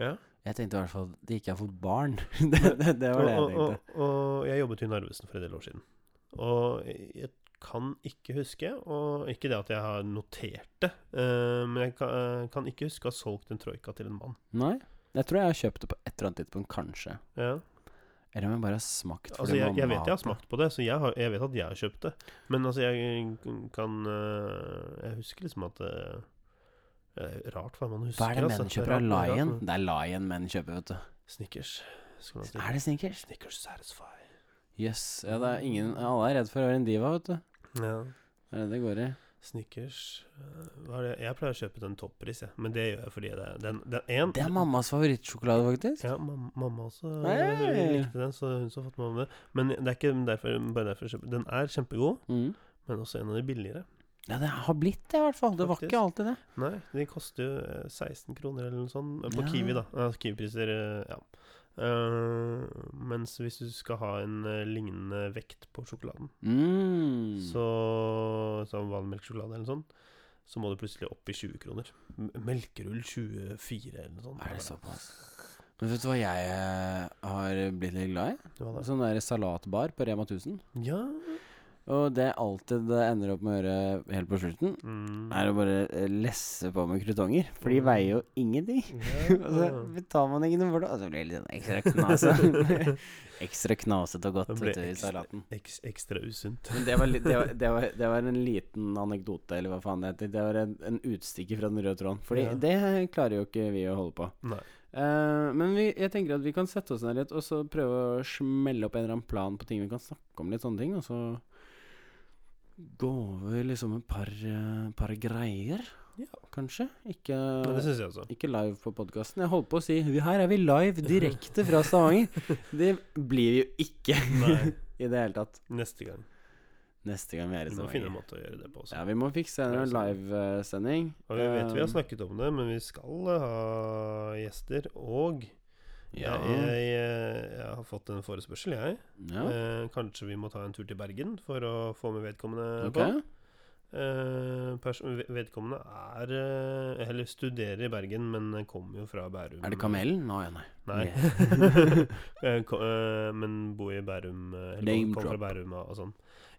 Speaker 1: Ja
Speaker 2: Jeg tenkte i hvert fall at det ikke er for barn. det, det, det var det jeg
Speaker 1: og,
Speaker 2: tenkte.
Speaker 1: og, og jeg jobbet jo i Narvesen for en del år siden Og jeg kan ikke huske, og ikke det at jeg har notert det, eh, men jeg kan, eh, kan ikke huske å ha solgt en troika til en mann.
Speaker 2: Nei. Jeg tror jeg har kjøpt det på et eller annet tidspunkt, kanskje.
Speaker 1: Ja.
Speaker 2: Eller om jeg bare har smakt fordi
Speaker 1: Altså, jeg,
Speaker 2: mamma
Speaker 1: jeg vet jeg har
Speaker 2: hadde.
Speaker 1: smakt på det, så jeg, har, jeg vet at jeg har kjøpt det. Men altså, jeg kan øh, Jeg husker liksom at øh, Det er rart hva man husker.
Speaker 2: Hva er det
Speaker 1: altså.
Speaker 2: menn kjøper av
Speaker 1: rart- rart
Speaker 2: Lion?
Speaker 1: med-
Speaker 2: Det er Lion menn kjøper, vet du.
Speaker 1: Snickers. Skal man si.
Speaker 2: Er det Snickers?
Speaker 1: Snickers Satisfy.
Speaker 2: Jøss. Yes. Ja, det er ingen Alle er redd for å være en diva, vet du.
Speaker 1: Ja.
Speaker 2: Det er det det går i.
Speaker 1: Snickers øh, hva er det? Jeg pleier å kjøpe den toppris, jeg. Men det gjør jeg fordi det er den, den en,
Speaker 2: Det er mammas favorittsjokolade, faktisk.
Speaker 1: Ja, mam mamma også øh,
Speaker 2: Hey!
Speaker 1: likte den, så hun som har fått med meg det. Men det er ikke derfor, bare derfor jeg kjøper Den er kjempegod,
Speaker 2: Mm.
Speaker 1: men også en av de billigere.
Speaker 2: Ja, det har blitt det, i hvert fall. Det var
Speaker 1: Faktisk.
Speaker 2: ikke alltid det.
Speaker 1: Nei, de koster jo eh, 16 kroner eller noe sånt eh, på
Speaker 2: Ja.
Speaker 1: Kiwi, da. Eh, Kiwi-priser, eh, ja. Eh, mens hvis du skal ha en eh, lignende vekt på sjokoladen,
Speaker 2: Mm.
Speaker 1: så som vanmelksjokolade eller noe sånt, så må du plutselig opp i 20 kroner. M- Melkerull 24 eller noe sånt.
Speaker 2: Er det såpass? Men vet du hva jeg eh, har blitt litt glad i?
Speaker 1: Hva da?
Speaker 2: Sånn der salatbar på Rema 1000.
Speaker 1: Ja
Speaker 2: Og det er alltid det ender opp med å gjøre helt på slutten,
Speaker 1: mm.
Speaker 2: er å bare eh, lesse på med krutonger. For de
Speaker 1: Mm.
Speaker 2: veier jo ingenting.
Speaker 1: Ja.
Speaker 2: Og så betaler Altså, man ikke noe for det, og så blir det litt sånn ekstra knasete. ekstra knasete og godt
Speaker 1: Det ble
Speaker 2: vet du, i
Speaker 1: ekstra-
Speaker 2: salaten.
Speaker 1: Eks, ekstra usunt.
Speaker 2: Men det var, li- det, var, det, var, det var en liten anekdote, eller hva faen det heter. Det var en, en utstikker fra den røde tråden. Fordi
Speaker 1: Ja.
Speaker 2: det klarer jo ikke vi å holde på.
Speaker 1: Nei.
Speaker 2: Eh, men vi, jeg tenker at vi kan sette oss ned litt, og så prøve å smelle opp en eller annen plan på ting vi kan snakke om, litt sånne ting, og så gå over liksom et par, eh, par greier,
Speaker 1: Ja.
Speaker 2: kanskje. Ikke
Speaker 1: Men det syns jeg også.
Speaker 2: ikke live på podkasten. Jeg holdt på å si "Vi- her er vi live direkte fra Stavanger. Det blir vi jo ikke
Speaker 1: Nei,
Speaker 2: i det hele tatt.
Speaker 1: neste gang.
Speaker 2: Neste gang vi er i
Speaker 1: Vi må finne en
Speaker 2: Stavanger.
Speaker 1: måte å gjøre det på også.
Speaker 2: Ja, vi må fikse en livesending.
Speaker 1: Og vi vet vi altså.
Speaker 2: Eh,
Speaker 1: har snakket om det, men vi skal eh, ha gjester. Og
Speaker 2: ja.
Speaker 1: jeg, jeg, eh, jeg har fått en forespørsel, jeg.
Speaker 2: ja.
Speaker 1: Eh, kanskje vi må ta en tur til Bergen for å få med vedkommende
Speaker 2: Ok.
Speaker 1: på. Eh, pers- ved- vedkommende er eh, Eller studerer i Bergen, men kommer jo fra Bærum.
Speaker 2: Er det Kamelen? Nei, nei.
Speaker 1: Nei.
Speaker 2: Yeah.
Speaker 1: Eh, ko- eh, men bor i Bærum. eh, Eller
Speaker 2: Name
Speaker 1: kom fra
Speaker 2: drop.
Speaker 1: Bærum og, og sånn.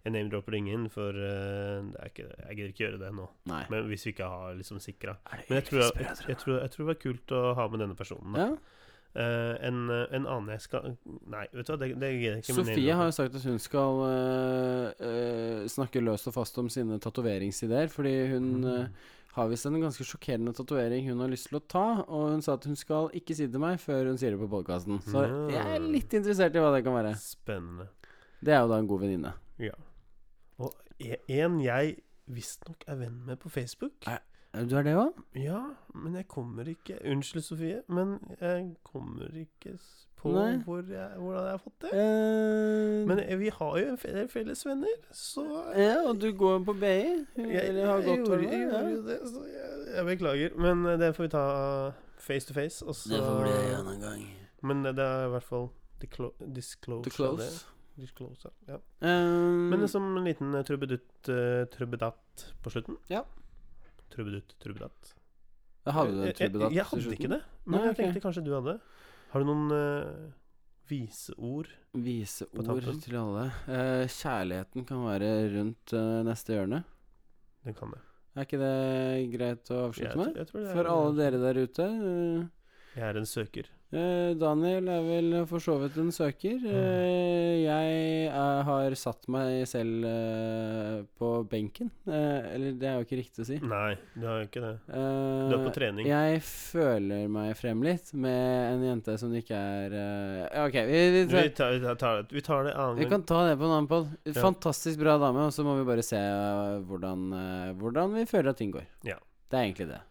Speaker 1: Jeg name-dropper ingen, for eh, det er ikke, jeg gidder ikke gjøre det nå.
Speaker 2: nei.
Speaker 1: Men hvis vi ikke har liksom sikra
Speaker 2: Er det
Speaker 1: Men jeg tror, jeg,
Speaker 2: Erik
Speaker 1: jeg,
Speaker 2: Spø,
Speaker 1: jeg, tror, jeg tror det var kult å ha med denne personen. Da.
Speaker 2: Ja.
Speaker 1: Eh, en, en annen jeg skal Nei, vet du hva, det, det gidder jeg ikke. men jeg-
Speaker 2: Sofie har jo sagt at hun skal eh, eh, snakke løst og fast om sine tatoveringsideer, fordi hun
Speaker 1: Mm.
Speaker 2: eh, har visst en ganske sjokkerende tatovering hun har lyst til å ta, og hun sa at hun skal ikke si det til meg før hun sier det på podkasten. Så
Speaker 1: Mm.
Speaker 2: jeg er litt interessert i hva det kan være.
Speaker 1: Spennende.
Speaker 2: Det er jo da en god venninne.
Speaker 1: Ja. Og e- en jeg visstnok er venn med på Facebook.
Speaker 2: Er- Du er det òg?
Speaker 1: Ja, men jeg kommer ikke Unnskyld, Sofie, men jeg kommer ikke s- på
Speaker 2: Nei.
Speaker 1: hvor jeg, hvordan jeg har fått det.
Speaker 2: Eh,
Speaker 1: Men eh, vi har jo en fe- del felles venner, så
Speaker 2: ja, og du går på BI? Hun-
Speaker 1: Jeg,
Speaker 2: eller har
Speaker 1: jeg
Speaker 2: gått
Speaker 1: gjorde,
Speaker 2: over,
Speaker 1: jeg
Speaker 2: ja.
Speaker 1: gjorde jo det, så jeg, jeg beklager. Men eh, det får vi ta face to face. Og så,
Speaker 2: Det får bli en annen gang.
Speaker 1: Men eh, det, det er i hvert fall disclo disclose.
Speaker 2: To
Speaker 1: av
Speaker 2: close.
Speaker 1: det. Disclose, ja. ja.
Speaker 2: Eh,
Speaker 1: Men som en liten eh, trubedutt eh, trubedatt på slutten.
Speaker 2: Ja.
Speaker 1: Trubedutt, trubedatt.
Speaker 2: da hadde du en
Speaker 1: Jeg- jeg-
Speaker 2: trubedatt
Speaker 1: Jeg
Speaker 2: til
Speaker 1: hadde
Speaker 2: slutten.
Speaker 1: ikke det, men
Speaker 2: Nei,
Speaker 1: jeg
Speaker 2: ok.
Speaker 1: tenkte kanskje du hadde. Har du noen eh, viseord?
Speaker 2: Vise
Speaker 1: På
Speaker 2: ord
Speaker 1: tampen.
Speaker 2: til alle. Eh, kjærligheten kan være rundt eh, neste hjørne.
Speaker 1: Det kan jeg.
Speaker 2: Er ikke det greit å
Speaker 1: Jeg,
Speaker 2: avslutte
Speaker 1: tror-
Speaker 2: med?
Speaker 1: jeg tror det er,
Speaker 2: For alle dere der ute.
Speaker 1: Jeg er en søker.
Speaker 2: eh, eh, Daniel er vel for så vidt en søker.
Speaker 1: Mm.
Speaker 2: Eh, jeg er, har satt meg selv eh, på benken. Eh, eller det er jo ikke riktig å si.
Speaker 1: Nei, du har ikke det.
Speaker 2: Eh,
Speaker 1: Mm. Du er på trening.
Speaker 2: jeg føler meg frem litt med en jente som ikke er eh, Ok, vi, vi,
Speaker 1: Du, Vi tar, vi tar, det- vi tar det annen
Speaker 2: Vi
Speaker 1: gang.
Speaker 2: kan ta det på en annen podd.
Speaker 1: Ja.
Speaker 2: Fantastisk bra dame, og så må vi bare se eh, hvordan, eh, hvordan vi føler at ting går.
Speaker 1: Ja.
Speaker 2: Det er egentlig det.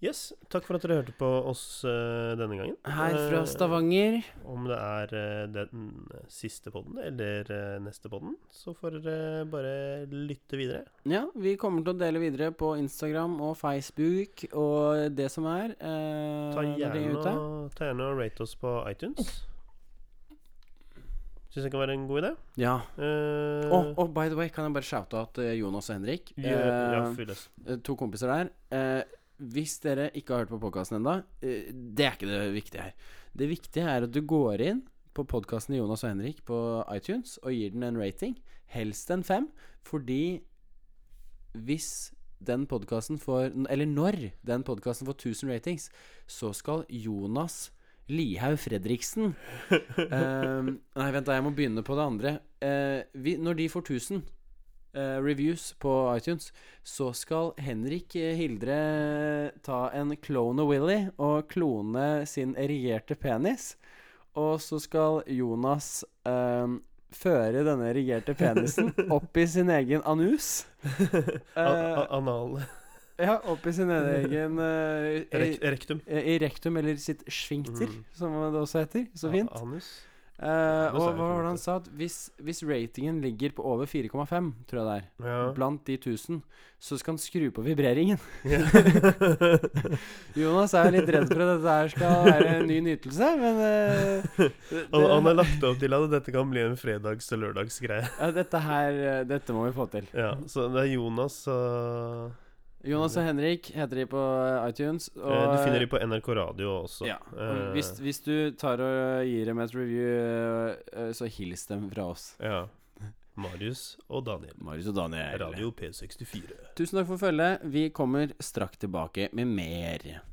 Speaker 1: Yes, takk for at dere hørte på oss eh, denne gangen.
Speaker 2: Her fra
Speaker 1: Eh,
Speaker 2: Stavanger.
Speaker 1: Om det er eh, den siste podden eller eh, neste podden, så får dere bare lytte videre.
Speaker 2: Ja, vi kommer til å dele videre på Instagram og Facebook og det som er. eh,
Speaker 1: Ta
Speaker 2: når ting er
Speaker 1: gjerne,
Speaker 2: ute.
Speaker 1: og- ta gjerne og rate oss på iTunes. Syns det kan være en god idé.
Speaker 2: Ja.
Speaker 1: Eh,
Speaker 2: Og og by the way, kan jeg bare shoute at eh, Jonas og Henrik,
Speaker 1: gjør-
Speaker 2: eh,
Speaker 1: ja, fyll oss.
Speaker 2: eh, to kompiser der eh, Hvis dere ikke har hørt på podkasten ennå, eh, det er ikke det viktige her. Det viktige er at du går inn på podkasten til Jonas og Henrik på iTunes og gir den en rating, helst en fem, fordi hvis den podkasten får Eller når den podkasten får 1000 ratings, så skal Jonas Lihaug Fredriksen eh, Nei, vent, da. Jeg må begynne på det andre. Eh, vi, når de får 1000 eh, reviews på iTunes, så skal Henrik eh, Hildre ta en klone Willy og klone sin erigerte penis. Og så skal Jonas eh, føre denne erigerte penisen opp Eh, i sin egen anus.
Speaker 1: A- a- Anal
Speaker 2: Ja, opp i sin egen eh,
Speaker 1: rek
Speaker 2: i,
Speaker 1: Rektum.
Speaker 2: i rektum, eller sitt sfinkter,
Speaker 1: Mm.
Speaker 2: som det også heter. Så fint.
Speaker 1: A- Anus.
Speaker 2: Eh,
Speaker 1: det sa jeg
Speaker 2: og
Speaker 1: ikke
Speaker 2: hva var det
Speaker 1: noe
Speaker 2: han sa? At hvis, hvis ratingen ligger på over 4,5, tror jeg det er,
Speaker 1: Ja.
Speaker 2: blant de 1000, så skal han skru på vibreringen.
Speaker 1: Ja.
Speaker 2: Jonas er jo litt redd for at dette her skal være en ny nytelse, men eh, det,
Speaker 1: Han, han har lagt opp til at dette kan bli en fredags- og lørdagsgreie.
Speaker 2: ja, dette her eh, Dette må vi få til.
Speaker 1: Ja, så det er Jonas eh, og
Speaker 2: Jonas og Henrik heter de på eh, iTunes. Og,
Speaker 1: Eh, Du finner de på NRK Radio også.
Speaker 2: Ja.
Speaker 1: Eh,
Speaker 2: Hvis, hvis du tar og gir dem et review, eh, så hils dem fra oss.
Speaker 1: ja. Marius og Daniel.
Speaker 2: Marius og Daniel.
Speaker 1: Radio P64.
Speaker 2: Tusen takk for følget. Vi kommer straks tilbake med mer.